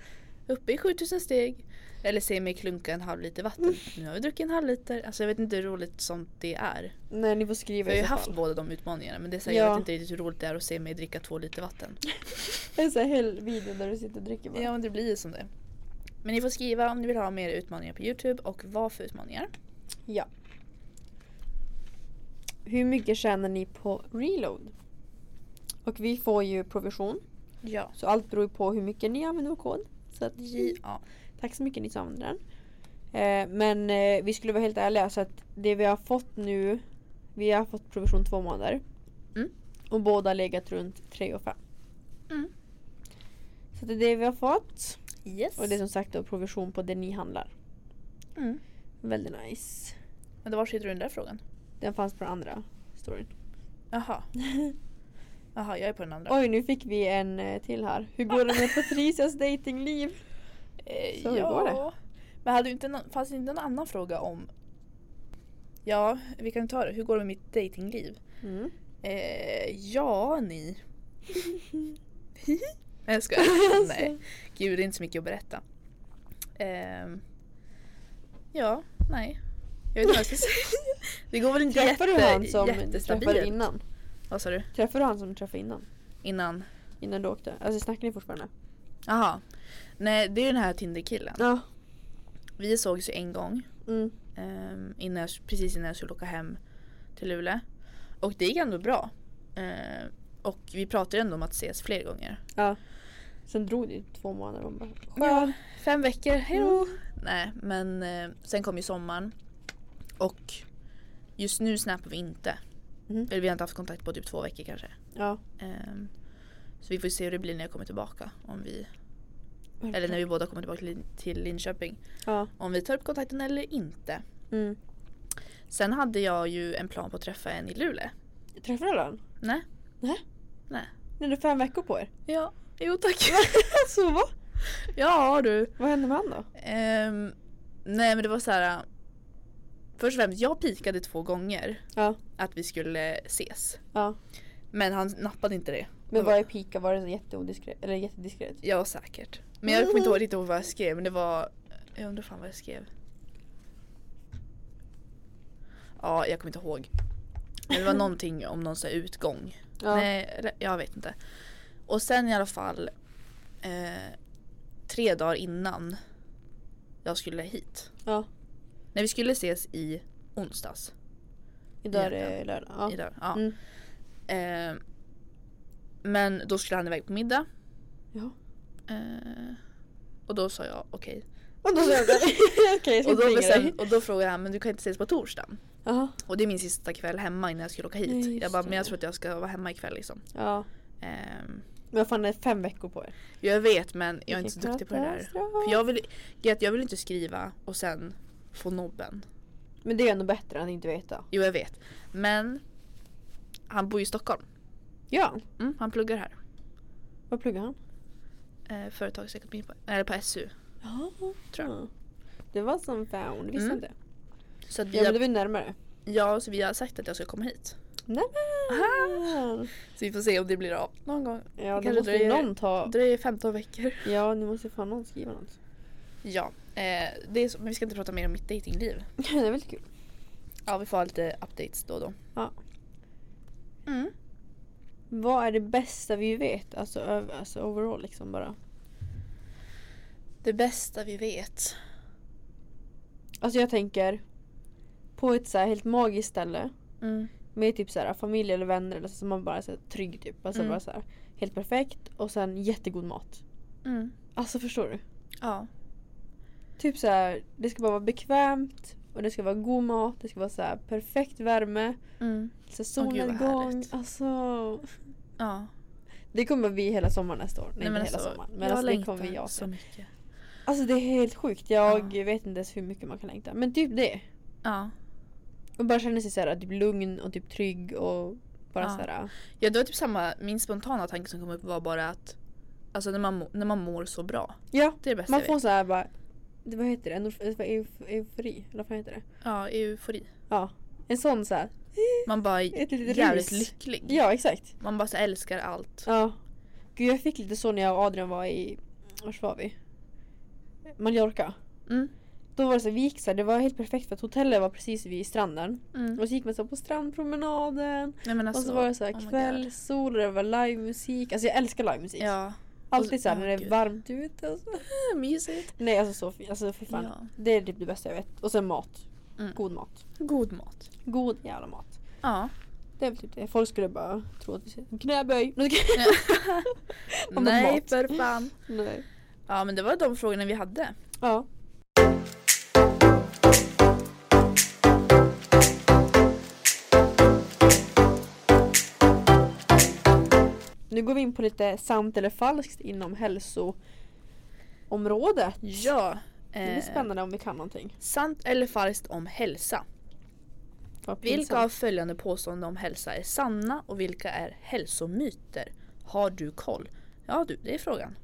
Speaker 2: uppe i 7 000 steg. Eller se mig klunka en halv
Speaker 1: [laughs]
Speaker 2: liter vatten. Nu har vi druckit en halv liter. Alltså jag vet inte hur roligt sånt det är.
Speaker 1: nej ni får
Speaker 2: Jag
Speaker 1: skriva
Speaker 2: har
Speaker 1: i
Speaker 2: ju
Speaker 1: så
Speaker 2: haft
Speaker 1: fall.
Speaker 2: båda de utmaningarna men det är så här,
Speaker 1: Ja.
Speaker 2: jag vet inte riktigt hur roligt det är att se mig dricka två liter vatten.
Speaker 1: Det är så här hel video där du sitter och dricker bara.
Speaker 2: Ja men det blir ju som det. Men ni får skriva om ni vill ha mer utmaningar på Youtube och vad för utmaningar.
Speaker 1: ja. Hur mycket tjänar ni på reload? Och vi får ju provision.
Speaker 2: Ja.
Speaker 1: Så allt beror ju på hur mycket ni använder vår kod. Så att
Speaker 2: Ja.
Speaker 1: Tack så mycket ni som använder den. Eh, men eh, vi skulle vara helt ärliga så att det vi har fått nu, vi har fått provision två månader.
Speaker 2: Mm.
Speaker 1: Och båda har legat runt 3 och 5.
Speaker 2: Mm.
Speaker 1: Så det är det vi har fått.
Speaker 2: Yes.
Speaker 1: Och det är som sagt då provision på det ni handlar.
Speaker 2: mm.
Speaker 1: Väldigt nice.
Speaker 2: Men var sitter du i den där frågan?
Speaker 1: Den fanns på den andra storyn. [laughs]
Speaker 2: Jaha. Jaha, jag är på den andra.
Speaker 1: Oj, nu fick vi en eh, till här. Hur går det
Speaker 2: [laughs]
Speaker 1: med Patricias datingliv?
Speaker 2: Eh,
Speaker 1: Så hur går det?
Speaker 2: Men hade du inte någon, fanns det inte någon annan fråga om... Ja, vi kan ta det. Hur går det med mitt datingliv?
Speaker 1: Mm.
Speaker 2: Eh, ja,
Speaker 1: [laughs]
Speaker 2: ni. Nej jag
Speaker 1: Alltså, [laughs]
Speaker 2: skojar. Nej. Gud, det är inte så mycket att berätta. Ehm, ja, nej. Jag vet inte vad jag ska säga. Det går väl inte
Speaker 1: Träffade du han som träffade
Speaker 2: jättestabilt.
Speaker 1: innan?
Speaker 2: Vad sa du?
Speaker 1: Träffade du han som träffade innan?
Speaker 2: Innan?
Speaker 1: Innan du åkte? Alltså snackar ni fortfarande?
Speaker 2: Jaha. Nej, det är ju den här Tinder-killen.
Speaker 1: Ja.
Speaker 2: Vi sågs ju en gång.
Speaker 1: Mm.
Speaker 2: ehm, innan jag, precis innan jag skulle åka hem till Luleå. Och det gick ändå bra. Ehm, och vi pratade ju ändå om att ses fler gånger.
Speaker 1: ja. Sen drog det ju två månader och man bara
Speaker 2: Ja,
Speaker 1: "Skönt."
Speaker 2: fem veckor, hejdå!
Speaker 1: Mm.
Speaker 2: Nej, men eh, sen kom ju sommaren. Och just nu snappar vi inte.
Speaker 1: Mhm.
Speaker 2: Eller vi har inte haft kontakt på typ två veckor kanske.
Speaker 1: Ja.
Speaker 2: Ehm, så vi får se hur det blir när jag kommer tillbaka. Om vi, eller när vi båda kommer tillbaka till, Lin- till Linköping.
Speaker 1: Ja.
Speaker 2: Om vi tar upp kontakten eller inte.
Speaker 1: Mm.
Speaker 2: Sen hade jag ju en plan på att träffa en i Luleå.
Speaker 1: Träffade du honom?
Speaker 2: Nej.
Speaker 1: Ni hade fem veckor på er.
Speaker 2: Ja, jo [laughs] tack. Alltså,
Speaker 1: Så va?
Speaker 2: ja du.
Speaker 1: Vad hände med han då?
Speaker 2: Ehm, nej men det var så här. äh, Först och främst, jag pikade två gånger
Speaker 1: Ja.
Speaker 2: att vi skulle ses.
Speaker 1: Ja.
Speaker 2: Men han nappade inte det.
Speaker 1: Men vad är pika? Var det så jätteodiskret? Eller jättediskret?
Speaker 2: Ja säkert. Men jag kommer inte
Speaker 1: Mm.
Speaker 2: ihåg riktigt ihåg vad jag skrev men det var... Jag undrar fan vad jag skrev. Ja, jag kommer inte ihåg. Men det var någonting om någon sån här utgång.
Speaker 1: [laughs] Ja.
Speaker 2: Nej, eller- jag vet inte. Och sen i alla fall eh, tre dagar innan jag skulle hit.
Speaker 1: Ja.
Speaker 2: När vi skulle ses i onsdags.
Speaker 1: Idag är det lördag. Ja.
Speaker 2: Idag, ja.
Speaker 1: Mm.
Speaker 2: Eh, men då skulle han iväg på middag.
Speaker 1: Ja.
Speaker 2: Eh, och då sa jag okej.
Speaker 1: Och [laughs] då sa jag okej, jag ska
Speaker 2: Och,
Speaker 1: inte
Speaker 2: då
Speaker 1: ringa dig.
Speaker 2: bestäm- och då frågade han men du kan inte ses på torsdagen.
Speaker 1: Jaha.
Speaker 2: Och det är min sista kväll hemma innan jag skulle åka hit.
Speaker 1: Nej, just
Speaker 2: jag bara
Speaker 1: det.
Speaker 2: men jag tror att jag ska vara hemma ikväll liksom.
Speaker 1: Ja.
Speaker 2: Ehm,
Speaker 1: Men vad fan, det är fem veckor på er.
Speaker 2: jag vet men jag är
Speaker 1: Vilken
Speaker 2: inte så duktig på det där.
Speaker 1: katastrof.
Speaker 2: För jag vill, grejen är att jag vill inte skriva och sen få nobben.
Speaker 1: Men det är ändå bättre än att inte veta.
Speaker 2: Jo jag vet. Men han bor ju i Stockholm.
Speaker 1: Ja.
Speaker 2: Mm, han pluggar här.
Speaker 1: Vad pluggar han?
Speaker 2: Eh, företagsekonomi på, eller på SU.
Speaker 1: Ja.
Speaker 2: Tror jag.
Speaker 1: Det var som fan, det visste jag
Speaker 2: Mm.
Speaker 1: inte.
Speaker 2: Så, att vi
Speaker 1: Ja men det var
Speaker 2: har,
Speaker 1: ju närmare.
Speaker 2: ja, så vi har sagt att jag ska komma hit.
Speaker 1: Nämen!
Speaker 2: Så vi får se om det blir av någon gång.
Speaker 1: Ja
Speaker 2: Kanske
Speaker 1: då måste ju
Speaker 2: dröjer-
Speaker 1: någon ta...
Speaker 2: Dröjer 15 veckor.
Speaker 1: Ja nu måste ju fan någon skriva något.
Speaker 2: [laughs] Ja, eh, det är så, men vi ska inte prata mer om mitt datingliv.
Speaker 1: det är väldigt kul.
Speaker 2: Ja, vi får ha lite updates då och då.
Speaker 1: Ja.
Speaker 2: Mm.
Speaker 1: Vad är det bästa vi vet? Alltså, över, alltså overall liksom bara.
Speaker 2: Det bästa vi vet.
Speaker 1: Alltså jag tänker på ett så här helt magiskt ställe
Speaker 2: Mm.
Speaker 1: med typ så här, familj eller vänner eller så som man bara är så här, trygg typ. Alltså
Speaker 2: Mm.
Speaker 1: bara så här, helt perfekt och sen jättegod mat.
Speaker 2: Mm.
Speaker 1: Alltså förstår du?
Speaker 2: Ja.
Speaker 1: Typ så här, det ska bara vara bekvämt och det ska vara god mat, det ska vara så här, perfekt värme,
Speaker 2: Mm.
Speaker 1: så här,
Speaker 2: Åh, gud, vad
Speaker 1: solnedgång.
Speaker 2: härligt.
Speaker 1: alltså
Speaker 2: ja.
Speaker 1: det kommer bli hela sommaren nästa år. Nej, inte hela sommaren. Men alltså, det kommer vi göra.
Speaker 2: så mycket.
Speaker 1: Alltså det är helt sjukt. Jag vet inte ens hur mycket man kan längta. Men typ det.
Speaker 2: Ja.
Speaker 1: Och bara känna sig så här, typ lugn och typ trygg och bara
Speaker 2: Ja.
Speaker 1: så här.
Speaker 2: ja, det var typ samma, min spontana tanke som kom upp var bara att Alltså när man, må- när man mår så bra.
Speaker 1: Ja,
Speaker 2: Det är det bästa
Speaker 1: man
Speaker 2: Alltså, jag
Speaker 1: får
Speaker 2: vet.
Speaker 1: så här bara det, vad heter det? Endorf- vad euf- eufori? Eller vad fan heter det?
Speaker 2: Ja, eufori.
Speaker 1: Ja. En sån så här.
Speaker 2: Man bara
Speaker 1: Ett
Speaker 2: är
Speaker 1: litet
Speaker 2: jävligt
Speaker 1: rus.
Speaker 2: lycklig.
Speaker 1: Ja, exakt.
Speaker 2: Man bara så älskar allt.
Speaker 1: Ja. Gud, jag fick lite så när jag och Adrian var i vars var vi? Mallorca.
Speaker 2: Mm.
Speaker 1: Då var det så här, vi gick så här, det var helt perfekt för att hotellet var precis vid stranden.
Speaker 2: Mm.
Speaker 1: Och så gick man så här på strandpromenaden.
Speaker 2: Nej, men alltså,
Speaker 1: och så var det så här
Speaker 2: oh my god.
Speaker 1: kväll, sol och det var livemusik. Alltså jag älskar livemusik.
Speaker 2: Ja.
Speaker 1: Alltid så här
Speaker 2: Åh,
Speaker 1: när det är
Speaker 2: gud.
Speaker 1: varmt ute och så.
Speaker 2: Mysigt.
Speaker 1: Nej alltså så fint, alltså för fan.
Speaker 2: Ja.
Speaker 1: Det är typ det bästa jag vet. Och sen mat.
Speaker 2: Mm.
Speaker 1: God mat.
Speaker 2: God mat.
Speaker 1: God jävla mat.
Speaker 2: Ja.
Speaker 1: [laughs] Det är väl typ det. Folk skulle bara tro att vi säger knäböj. Om
Speaker 2: Nej
Speaker 1: mat.
Speaker 2: för fan.
Speaker 1: [laughs] Nej.
Speaker 2: Ja men det var de frågorna vi hade.
Speaker 1: Ja. Nu går vi in på lite sant eller falskt inom hälsoområdet.
Speaker 2: Ja.
Speaker 1: Det är
Speaker 2: Eh,
Speaker 1: spännande om vi kan någonting.
Speaker 2: Sant eller falskt om hälsa?
Speaker 1: Vad
Speaker 2: Vilka
Speaker 1: pinsamt.
Speaker 2: av följande påståenden om hälsa är sanna och vilka är hälsomyter? Har du koll? Ja du, det är frågan.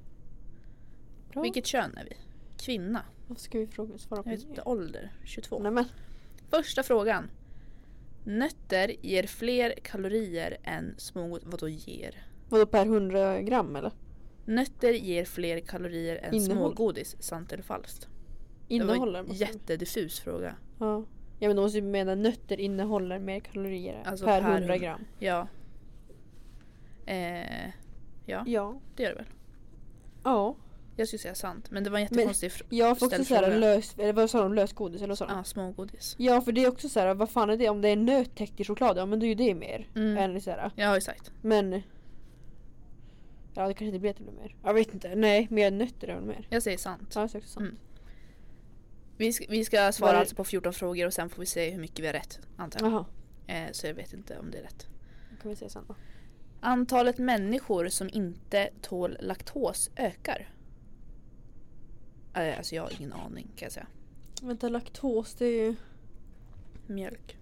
Speaker 1: Bra.
Speaker 2: Vilket kön är vi? Kvinna?
Speaker 1: Varför ska vi fråga, svara på
Speaker 2: Jag vet
Speaker 1: det?
Speaker 2: inte, ålder? 22.
Speaker 1: Nej men,
Speaker 2: Första frågan. Nötter ger fler kalorier än små... Vadå ger?
Speaker 1: vadå per 100 gram eller?
Speaker 2: Nötter ger fler kalorier än
Speaker 1: Innehåll.
Speaker 2: smågodis, sant eller falskt?
Speaker 1: Innehåller?
Speaker 2: det var en
Speaker 1: måste vi-
Speaker 2: jättediffus fråga.
Speaker 1: Ja. ja men då måste vi mena nötter innehåller mer kalorier
Speaker 2: Alltså
Speaker 1: per
Speaker 2: per
Speaker 1: 100
Speaker 2: hund-
Speaker 1: gram.
Speaker 2: Ja. Eh, ja,
Speaker 1: Ja.
Speaker 2: det gör det väl.
Speaker 1: Ja.
Speaker 2: Jag skulle säga sant, men det var en jättekonstig fråga.
Speaker 1: Jag får också
Speaker 2: Ställ
Speaker 1: såhär
Speaker 2: fråga.
Speaker 1: lös, eller vad sa de, lösgodis eller vad sa de?
Speaker 2: Ja, smågodis.
Speaker 1: Ja för det är också såhär, vad fan är det? Om det är nöt täckt i choklad, ja men då är ju det mer.
Speaker 2: Mm.
Speaker 1: Än såhär,
Speaker 2: Ja, exakt.
Speaker 1: men... Ja det kanske inte blir att det blir mer. Jag vet inte, nej mer nötter är väl mer.
Speaker 2: Jag säger sant.
Speaker 1: Ja det är också sant.
Speaker 2: Mm. Vi ska, vi ska svara
Speaker 1: Var det-
Speaker 2: alltså på 14 frågor och sen får vi se hur mycket vi har rätt, antar jag.
Speaker 1: Jaha,
Speaker 2: Eh, så jag vet inte om det är rätt.
Speaker 1: då kan vi se sen då.
Speaker 2: Antalet människor som inte tål laktos ökar. Eh, Alltså jag har ingen aning kan jag säga.
Speaker 1: Vänta laktos det är ju...
Speaker 2: Mjölk.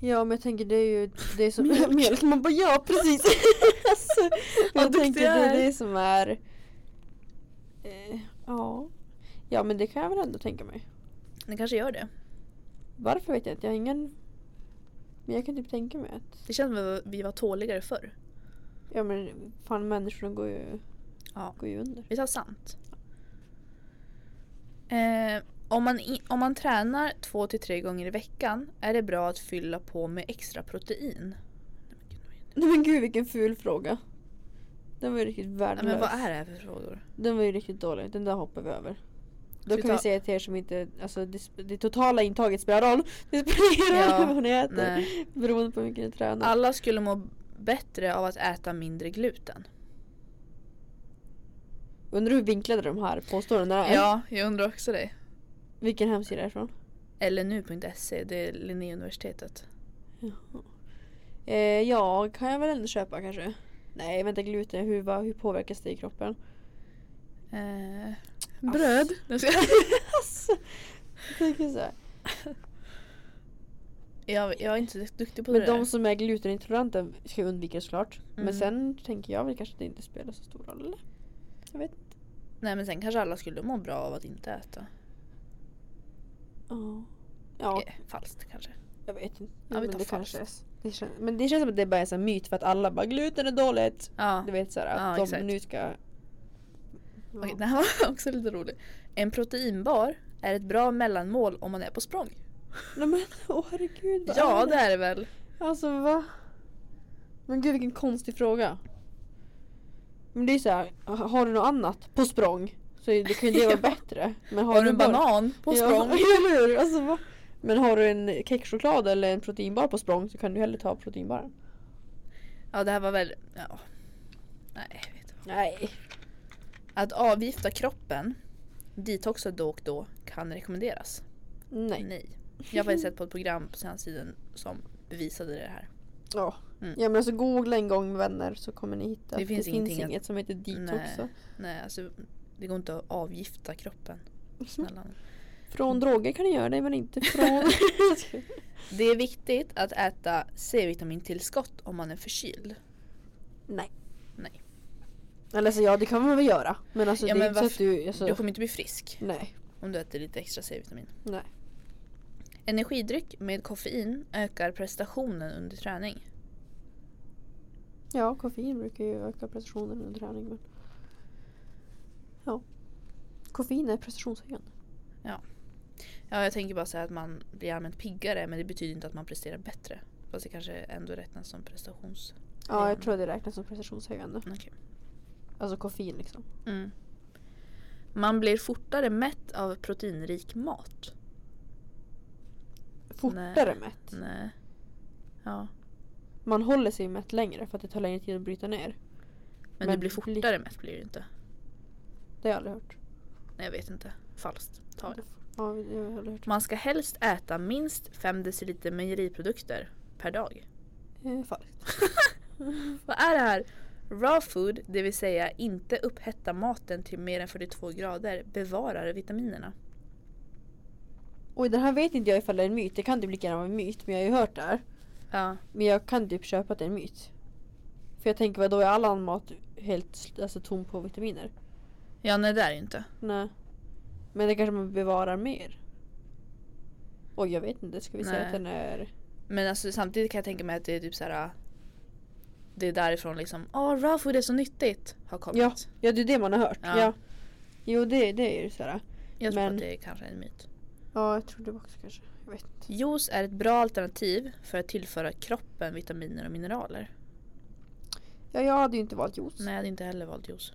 Speaker 1: Ja men jag tänker det är ju det [laughs] är som
Speaker 2: Mjölk.
Speaker 1: mjölk. Man bara ja [laughs] precis. alltså,
Speaker 2: [laughs] Vad
Speaker 1: jag
Speaker 2: duktig
Speaker 1: tänker det
Speaker 2: jag
Speaker 1: är
Speaker 2: är.
Speaker 1: det som är. Eh, ja. Ja men det kan jag väl ändå tänka mig.
Speaker 2: Den kanske gör det.
Speaker 1: Varför vet jag inte. Jag har ingen. Men jag kan typ tänka mig att.
Speaker 2: Det känns som att vi var tåligare förr.
Speaker 1: Ja men fan människorna går ju,
Speaker 2: Ja.
Speaker 1: går ju under. [laughs]
Speaker 2: Vi tar sant. Eh, om, man i, om man tränar två till tre gånger i veckan är det bra att fylla på med extra protein. Nej, men gud, vad
Speaker 1: Nej men gud
Speaker 2: är det?
Speaker 1: vilken ful fråga. Den var ju riktigt
Speaker 2: Nej,
Speaker 1: värdelös.
Speaker 2: men vad är det här för frågor?
Speaker 1: Den var ju riktigt dålig. Den där hoppar vi över. Då
Speaker 2: Ska vi
Speaker 1: kan vi
Speaker 2: ta-
Speaker 1: säga till er som inte, alltså det, sp- det totala intaget spelar roll. Det spelar ingen roll
Speaker 2: Ja,
Speaker 1: vad ni äter.
Speaker 2: Nej.
Speaker 1: Beroende på hur mycket ni tränar.
Speaker 2: Alla skulle må bättre av att äta mindre gluten.
Speaker 1: Undrar hur vinklade de här påståendena är.
Speaker 2: Ja, jag undrar också det.
Speaker 1: Vilken hemsida är det ifrån?
Speaker 2: Eller nu.se, E, det är Linnéuniversitetet.
Speaker 1: Eh, ja, kan jag väl ändå köpa kanske. Nej, vänta gluten, hur, vad, hur påverkas det i kroppen? [laughs]
Speaker 2: Eh,
Speaker 1: bröd.
Speaker 2: [laughs] Jag ska-
Speaker 1: Alltså, jag tänker så här.
Speaker 2: jag, jag är inte så duktig på
Speaker 1: Men
Speaker 2: det
Speaker 1: de
Speaker 2: där.
Speaker 1: som är glutenintoleranta ska ju undvika det såklart. Men
Speaker 2: Mm.
Speaker 1: sen tänker jag väl kanske att det inte spelar så stor roll eller? Jag vet inte.
Speaker 2: Nej men sen kanske alla skulle må bra av att inte äta.
Speaker 1: Ja. Ja,
Speaker 2: Eh, falskt kanske.
Speaker 1: jag vet inte.
Speaker 2: Ja, vi
Speaker 1: men
Speaker 2: tar
Speaker 1: det kanske är,
Speaker 2: falskt.
Speaker 1: det känns, Men det känns som att det bara är en myt för att alla bara gluten är dåligt.
Speaker 2: Ja.
Speaker 1: Du vet såhär att
Speaker 2: Ja,
Speaker 1: de
Speaker 2: exakt.
Speaker 1: nu ska... Ja.
Speaker 2: Okej, det här var [laughs] också lite roligt. En proteinbar är ett bra mellanmål om man är på språng.
Speaker 1: Nej men [laughs] åh herregud vad
Speaker 2: Ja
Speaker 1: är
Speaker 2: det är det väl.
Speaker 1: Alltså va? Men gud vilken konstig fråga. Men det är så här, ha- har du något annat på språng så är- det kan ju
Speaker 2: [laughs]
Speaker 1: det vara bättre. Men
Speaker 2: Har du en
Speaker 1: bara-
Speaker 2: banan på
Speaker 1: Ja, [laughs]
Speaker 2: språng?
Speaker 1: eller hur? Alltså, va? Men har du en kexchoklad eller en proteinbar på språng så kan du hellre ta proteinbaren.
Speaker 2: Ja det här var väl... Ja. Nej jag vet inte.
Speaker 1: Nej.
Speaker 2: Att avgifta kroppen, detoxa då och då, kan rekommenderas.
Speaker 1: Nej.
Speaker 2: Nej. Jag har faktiskt sett på ett program på senaste tiden som bevisade det här.
Speaker 1: Ja.
Speaker 2: Mm.
Speaker 1: ja men alltså googla en gång vänner så kommer ni hitta.
Speaker 2: Det
Speaker 1: att det
Speaker 2: finns
Speaker 1: finns
Speaker 2: ingenting att-
Speaker 1: inget som heter detox.
Speaker 2: Nej. Nej alltså det går inte att
Speaker 1: [laughs]
Speaker 2: avgifta kroppen. Snälla.
Speaker 1: Från droger kan ni göra det men inte från...
Speaker 2: Det är viktigt att äta C-vitamintillskott om man är förkyld.
Speaker 1: [laughs] Nej.
Speaker 2: Nej.
Speaker 1: Eller alltså ja det kan man väl göra. Men alltså
Speaker 2: Ja,
Speaker 1: det är
Speaker 2: men
Speaker 1: inte så att
Speaker 2: varför-
Speaker 1: du... Alltså,
Speaker 2: Du kommer inte bli frisk.
Speaker 1: Nej.
Speaker 2: Om du äter lite extra C-vitamin.
Speaker 1: Nej.
Speaker 2: Energidryck med koffein ökar prestationen under träning.
Speaker 1: Ja, koffein brukar ju öka prestationen under träning. Men... Ja. Koffein är prestationshöjande.
Speaker 2: Ja, jag tänker bara säga att man blir allmänt piggare men det betyder inte att man presterar bättre. Fast det kanske ändå räknas som prestations...
Speaker 1: Ja,
Speaker 2: Mm.
Speaker 1: jag tror det räknas som prestationshöjande.
Speaker 2: Okej.
Speaker 1: Alltså koffein liksom.
Speaker 2: Mm. Man blir fortare mätt av proteinrik mat.
Speaker 1: Fortare mätt.
Speaker 2: Nej. Mm. Ja.
Speaker 1: Man håller sig mätt längre för att det tar längre tid att bryta ner.
Speaker 2: Men,
Speaker 1: Men
Speaker 2: du blir
Speaker 1: li-
Speaker 2: fortare mätt blir du inte.
Speaker 1: Det har jag aldrig hört.
Speaker 2: Nej, jag vet inte. Falskt. Ta det.
Speaker 1: Ja, det har jag aldrig hört.
Speaker 2: Man ska helst äta minst 5 deciliter mejeriprodukter per dag.
Speaker 1: Eh, falskt.
Speaker 2: Vad är det här? Raw food, det vill säga inte upphetta maten till mer än 42 grader, bevarar vitaminerna.
Speaker 1: Oj den här vet inte jag ifall det är en myt. Det kan typ lika gärna vara en myt men jag har ju hört det här.
Speaker 2: Ja.
Speaker 1: Men jag kan typ köpa att det är en myt. För jag tänker vad då är all annan mat helt sl- alltså, tom på vitaminer?
Speaker 2: ja, nej det är det inte.
Speaker 1: Nej. Men det kanske man bevarar mer. Oj jag vet inte, ska vi säga
Speaker 2: Nej.
Speaker 1: att den är...
Speaker 2: Men alltså, samtidigt kan jag tänka mig att det är typ så här. Det är därifrån liksom, åh raw food är så nyttigt har kommit.
Speaker 1: Ja, ja det är det man har hört.
Speaker 2: Ja.
Speaker 1: Ja. Jo det, det är ju såhär.
Speaker 2: jag tror
Speaker 1: men-
Speaker 2: att det är kanske en myt.
Speaker 1: Ja jag tror det också kanske. Jag vet inte.
Speaker 2: Juice är ett bra alternativ för att tillföra kroppen vitaminer och mineraler.
Speaker 1: Ja jag hade ju inte valt juice.
Speaker 2: Nej, jag hade inte heller valt juice.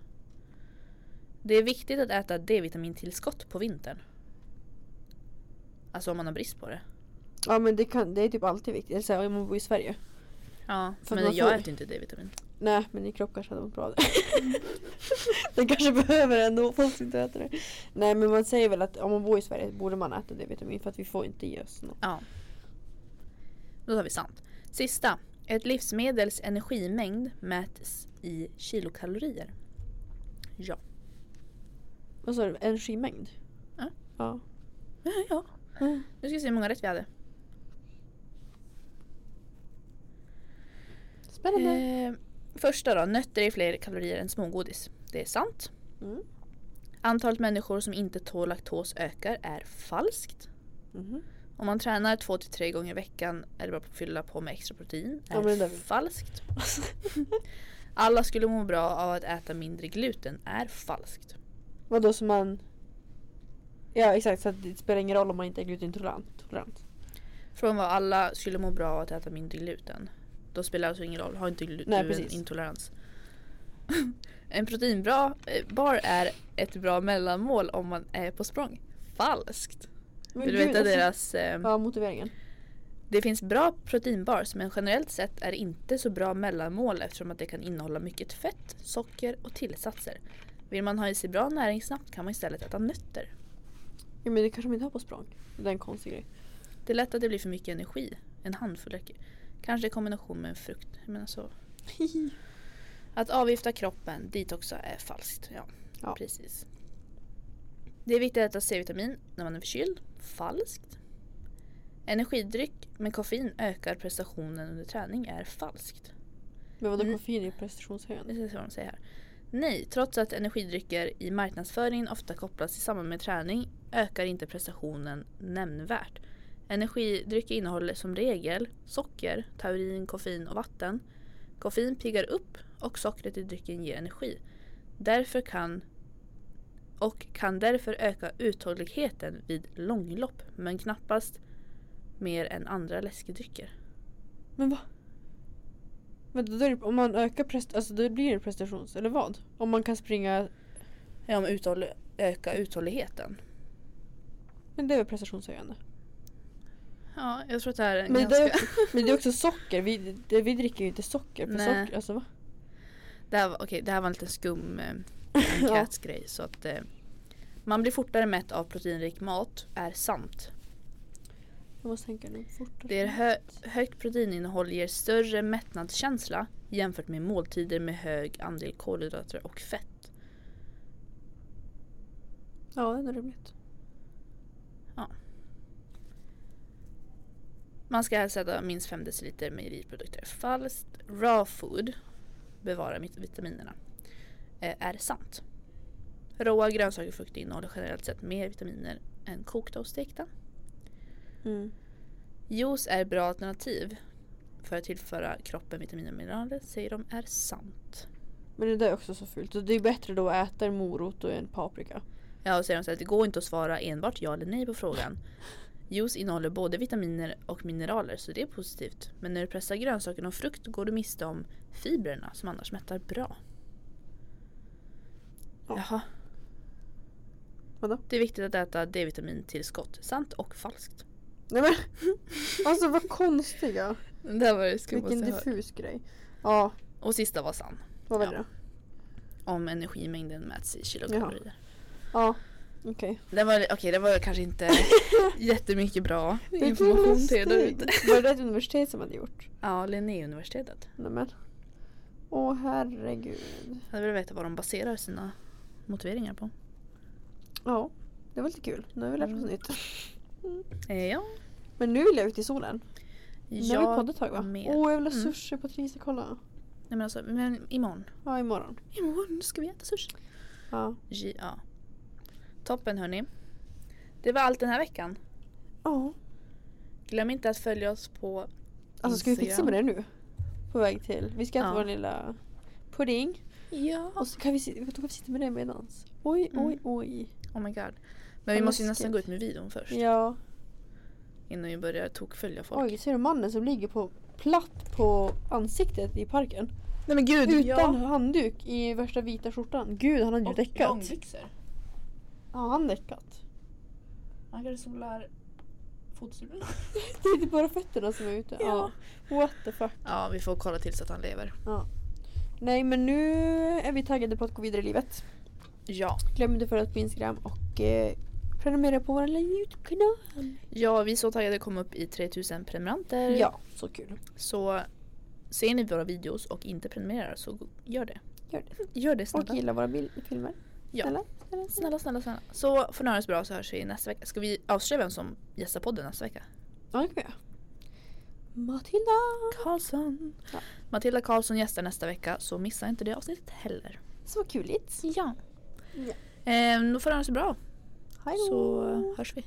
Speaker 2: Det är viktigt att äta D-vitamintillskott på vintern. Alltså om man har brist på det.
Speaker 1: Ja men det, kan, det är typ alltid viktigt. Eller såhär om man bor i Sverige.
Speaker 2: Ja,
Speaker 1: För
Speaker 2: men
Speaker 1: man
Speaker 2: jag
Speaker 1: får-
Speaker 2: äter inte D-vitamin.
Speaker 1: Nej, men din kropp kanske hade mått bra av det. [laughs] Den kanske behöver det ändå fast inte äter det. Nej, men man säger väl att om man bor i Sverige borde man äta D-vitamin för att vi får inte ge oss något.
Speaker 2: Ja. Då tar vi sant. Sista. Ett livsmedels energimängd mäts i kilokalorier. Ja.
Speaker 1: Vad sa du? Energimängd?
Speaker 2: Ja. Ah.
Speaker 1: Ja.
Speaker 2: ja. Nu ska vi se hur många rätt vi hade.
Speaker 1: Spännande.
Speaker 2: Eh, första då. Nötter är fler kalorier än smågodis. Det är sant.
Speaker 1: Mm.
Speaker 2: Antalet människor som inte tål laktos ökar är falskt.
Speaker 1: Mhm. [laughs]
Speaker 2: Om man tränar två till tre gånger i veckan eller bara fylla på med extra protein
Speaker 1: Ja, men
Speaker 2: är
Speaker 1: det där-
Speaker 2: falskt. Alla skulle må bra av att äta mindre gluten är falskt.
Speaker 1: Vadå som man... Ja exakt, så att det spelar ingen roll om man inte är glutentolerant. Tolerant.
Speaker 2: Från vad alla skulle må bra av att äta mindre gluten. Då spelar det alltså ingen roll, har inte glu-
Speaker 1: Nej,
Speaker 2: du en
Speaker 1: precis.
Speaker 2: intolerans. [laughs] en proteinbar eh, bar är ett bra mellanmål om man är på språng. Falskt!
Speaker 1: Men
Speaker 2: Vill du
Speaker 1: gud,
Speaker 2: veta
Speaker 1: alltså-
Speaker 2: deras... ehm,
Speaker 1: Ja, motiveringen.
Speaker 2: Det finns bra proteinbars men generellt sett är det inte så bra mellanmål eftersom att det kan innehålla mycket fett, socker och tillsatser. Vill man ha i sig bra näring snabbt kan man istället äta nötter.
Speaker 1: Ja, men det kanske man inte har på språng. Det är en konstig grej.
Speaker 2: Det är lätt att det blir för mycket energi. En handfull räcker. Kanske i kombination med frukt. Jag menar så. Att avgifta kroppen, dit också är falskt. Ja,
Speaker 1: Ja.
Speaker 2: precis. Det är viktigt att äta C-vitamin när man är förkyld. Falskt. Energidryck med koffein ökar prestationen under träning är falskt.
Speaker 1: Men vadå
Speaker 2: Mm.
Speaker 1: koffein är
Speaker 2: Nu
Speaker 1: prestationshöjande?
Speaker 2: ska jag se vad de säger här. Nej, trots att energidrycker i marknadsföringen ofta kopplas i samband med träning ökar inte prestationen nämnvärt. Energidrycker innehåller som regel socker, taurin, koffein och vatten. Koffein piggar upp och sockret i drycken ger energi. Därför kan och kan därför öka uthålligheten vid långlopp men knappast mer än andra läskedrycker.
Speaker 1: Men va? Men då är det, om man ökar prest, alltså då blir det prestations, eller vad? Om man kan springa,
Speaker 2: Ja, men uthåll- öka uthålligheten.
Speaker 1: men det är väl prestationshöjande?
Speaker 2: Ja, jag tror att det här är en
Speaker 1: Men det,
Speaker 2: ganska...
Speaker 1: är, men det är också socker, vi, det, vi dricker ju inte socker för
Speaker 2: Nej.
Speaker 1: socker, alltså va?
Speaker 2: Det här, var- okej, det här var en liten skum eh,
Speaker 1: [laughs] ja.
Speaker 2: enkätsgrej. Så att, eh, man blir fortare mätt av proteinrik mat är sant.
Speaker 1: Jag måste tänka nu fortare.
Speaker 2: Det är hö- högt proteininnehåll ger större mättnadskänsla jämfört med måltider med hög andel kolhydrater och fett.
Speaker 1: Ja, det är rimligt.
Speaker 2: Man ska helst äta minst 5 deciliter mejeriprodukter. Falskt. Raw food bevarar mit- vitaminerna. Eh, är sant. Råa grönsaker och frukter innehåller generellt sett mer vitaminer än kokta och stekta.
Speaker 1: Mm.
Speaker 2: Juice är ett bra alternativ för att tillföra kroppen vitaminer och mineraler säger de är sant.
Speaker 1: Men det där är också så fult. Så det är bättre då att äta en morot och en paprika.
Speaker 2: Ja, och säger de så här att det går inte att svara enbart ja eller nej på frågan. Juice innehåller både vitaminer och mineraler så det är positivt. Men när du pressar grönsaker och frukt går du miste om fibrerna som annars mättar bra.
Speaker 1: Ja.
Speaker 2: Jaha.
Speaker 1: Vadå?
Speaker 2: Det är viktigt att äta D-vitamintillskott. Sant och falskt.
Speaker 1: Nej men! [laughs] Alltså vad konstiga.
Speaker 2: Det här var det skummaste
Speaker 1: Vilken
Speaker 2: jag hört.
Speaker 1: diffus grej. Ja,
Speaker 2: Och sista var sann.
Speaker 1: vad var
Speaker 2: Ja.
Speaker 1: det då?
Speaker 2: Om energimängden mäts i kilokalorier.
Speaker 1: Ja, okej.
Speaker 2: Det var, okej, det var
Speaker 1: [laughs]
Speaker 2: kanske inte jättemycket bra
Speaker 1: Vilken
Speaker 2: information till dig
Speaker 1: lustig.
Speaker 2: ute.
Speaker 1: Var det ett universitet som hade gjort?
Speaker 2: Ja, Linnéuniversitetet.
Speaker 1: Nej men. Åh herregud.
Speaker 2: Jag vill veta vad de baserar sina motiveringar på. Mm.
Speaker 1: Ja, det var lite kul. Nu har vi lärt oss nytt.
Speaker 2: Eh, ja.
Speaker 1: Men nu vill jag ut i solen. Nu har vi
Speaker 2: Jag
Speaker 1: poddat ett tag va? Oh,
Speaker 2: med.
Speaker 1: Åh, jag vill ha
Speaker 2: Mm.
Speaker 1: sushi på Tricia, kolla.
Speaker 2: Nej men alltså, men imorgon.
Speaker 1: Ja, imorgon.
Speaker 2: Imorgon ska vi äta sushi.
Speaker 1: Ja.
Speaker 2: J- Ja. Toppen hörni. Det var allt den här veckan.
Speaker 1: Ja.
Speaker 2: Glöm inte att följa oss på
Speaker 1: Alltså ska vi fixa med det nu? På väg till. Vi ska äta
Speaker 2: Ja.
Speaker 1: vår lilla pudding.
Speaker 2: Ja.
Speaker 1: Och så kan vi, si- jag tror vi sitter med det medans. Oj,
Speaker 2: Mm.
Speaker 1: oj, oj.
Speaker 2: Oh my god. Men
Speaker 1: Vad
Speaker 2: vi måste
Speaker 1: läskigt.
Speaker 2: ju nästan gå ut med videon först.
Speaker 1: Ja.
Speaker 2: Innan vi börjar tokfölja folk.
Speaker 1: Oj, ser du mannen som ligger på platt på ansiktet i parken?
Speaker 2: Nej men gud.
Speaker 1: Utan handduk i värsta vita skjortan. Gud, han hade ju däckat. Ja, han däckat.
Speaker 2: Han kanske solar fotsulorna.
Speaker 1: Det är typ bara fötterna som är ute. Ja.
Speaker 2: Ja.
Speaker 1: What the fuck.
Speaker 2: [laughs] Ja vi får kolla till så att han lever.
Speaker 1: Nej men nu är vi taggade på att gå vidare i livet.
Speaker 2: Ja.
Speaker 1: Glöm inte att följa oss på Instagram och eh, prenumerera på vår lilla YouTube-kanal.
Speaker 2: Ja vi är så taggade att komma upp i 3000 prenumeranter.
Speaker 1: Ja, så kul.
Speaker 2: Eh. Så ser ni våra videos och inte prenumererar så go- gör det.
Speaker 1: Gör det.
Speaker 2: Gör det
Speaker 1: Och
Speaker 2: snälla.
Speaker 1: gilla våra bil- filmer.
Speaker 2: Ja.
Speaker 1: Snälla, snälla, snälla.
Speaker 2: Snälla, snälla, snälla. Så får ni ha det så bra så hörs vi nästa vecka. Ska vi avslöja vem som gästar podden nästa vecka?
Speaker 1: Ja, det kan vi göra. Matilda!
Speaker 2: Karlsson.
Speaker 1: Ja.
Speaker 2: Matilda Karlsson gästar nästa vecka så missa inte det avsnittet heller.
Speaker 1: Så kuligt.
Speaker 2: Ja.
Speaker 1: Ja.
Speaker 2: Ehm, då får ni ha det så bra
Speaker 1: Hej då!
Speaker 2: eh, så hörs vi.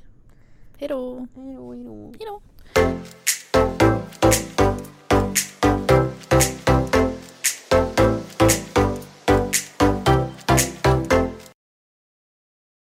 Speaker 2: Hej då.
Speaker 1: Hej då, hej då.
Speaker 2: Hej då.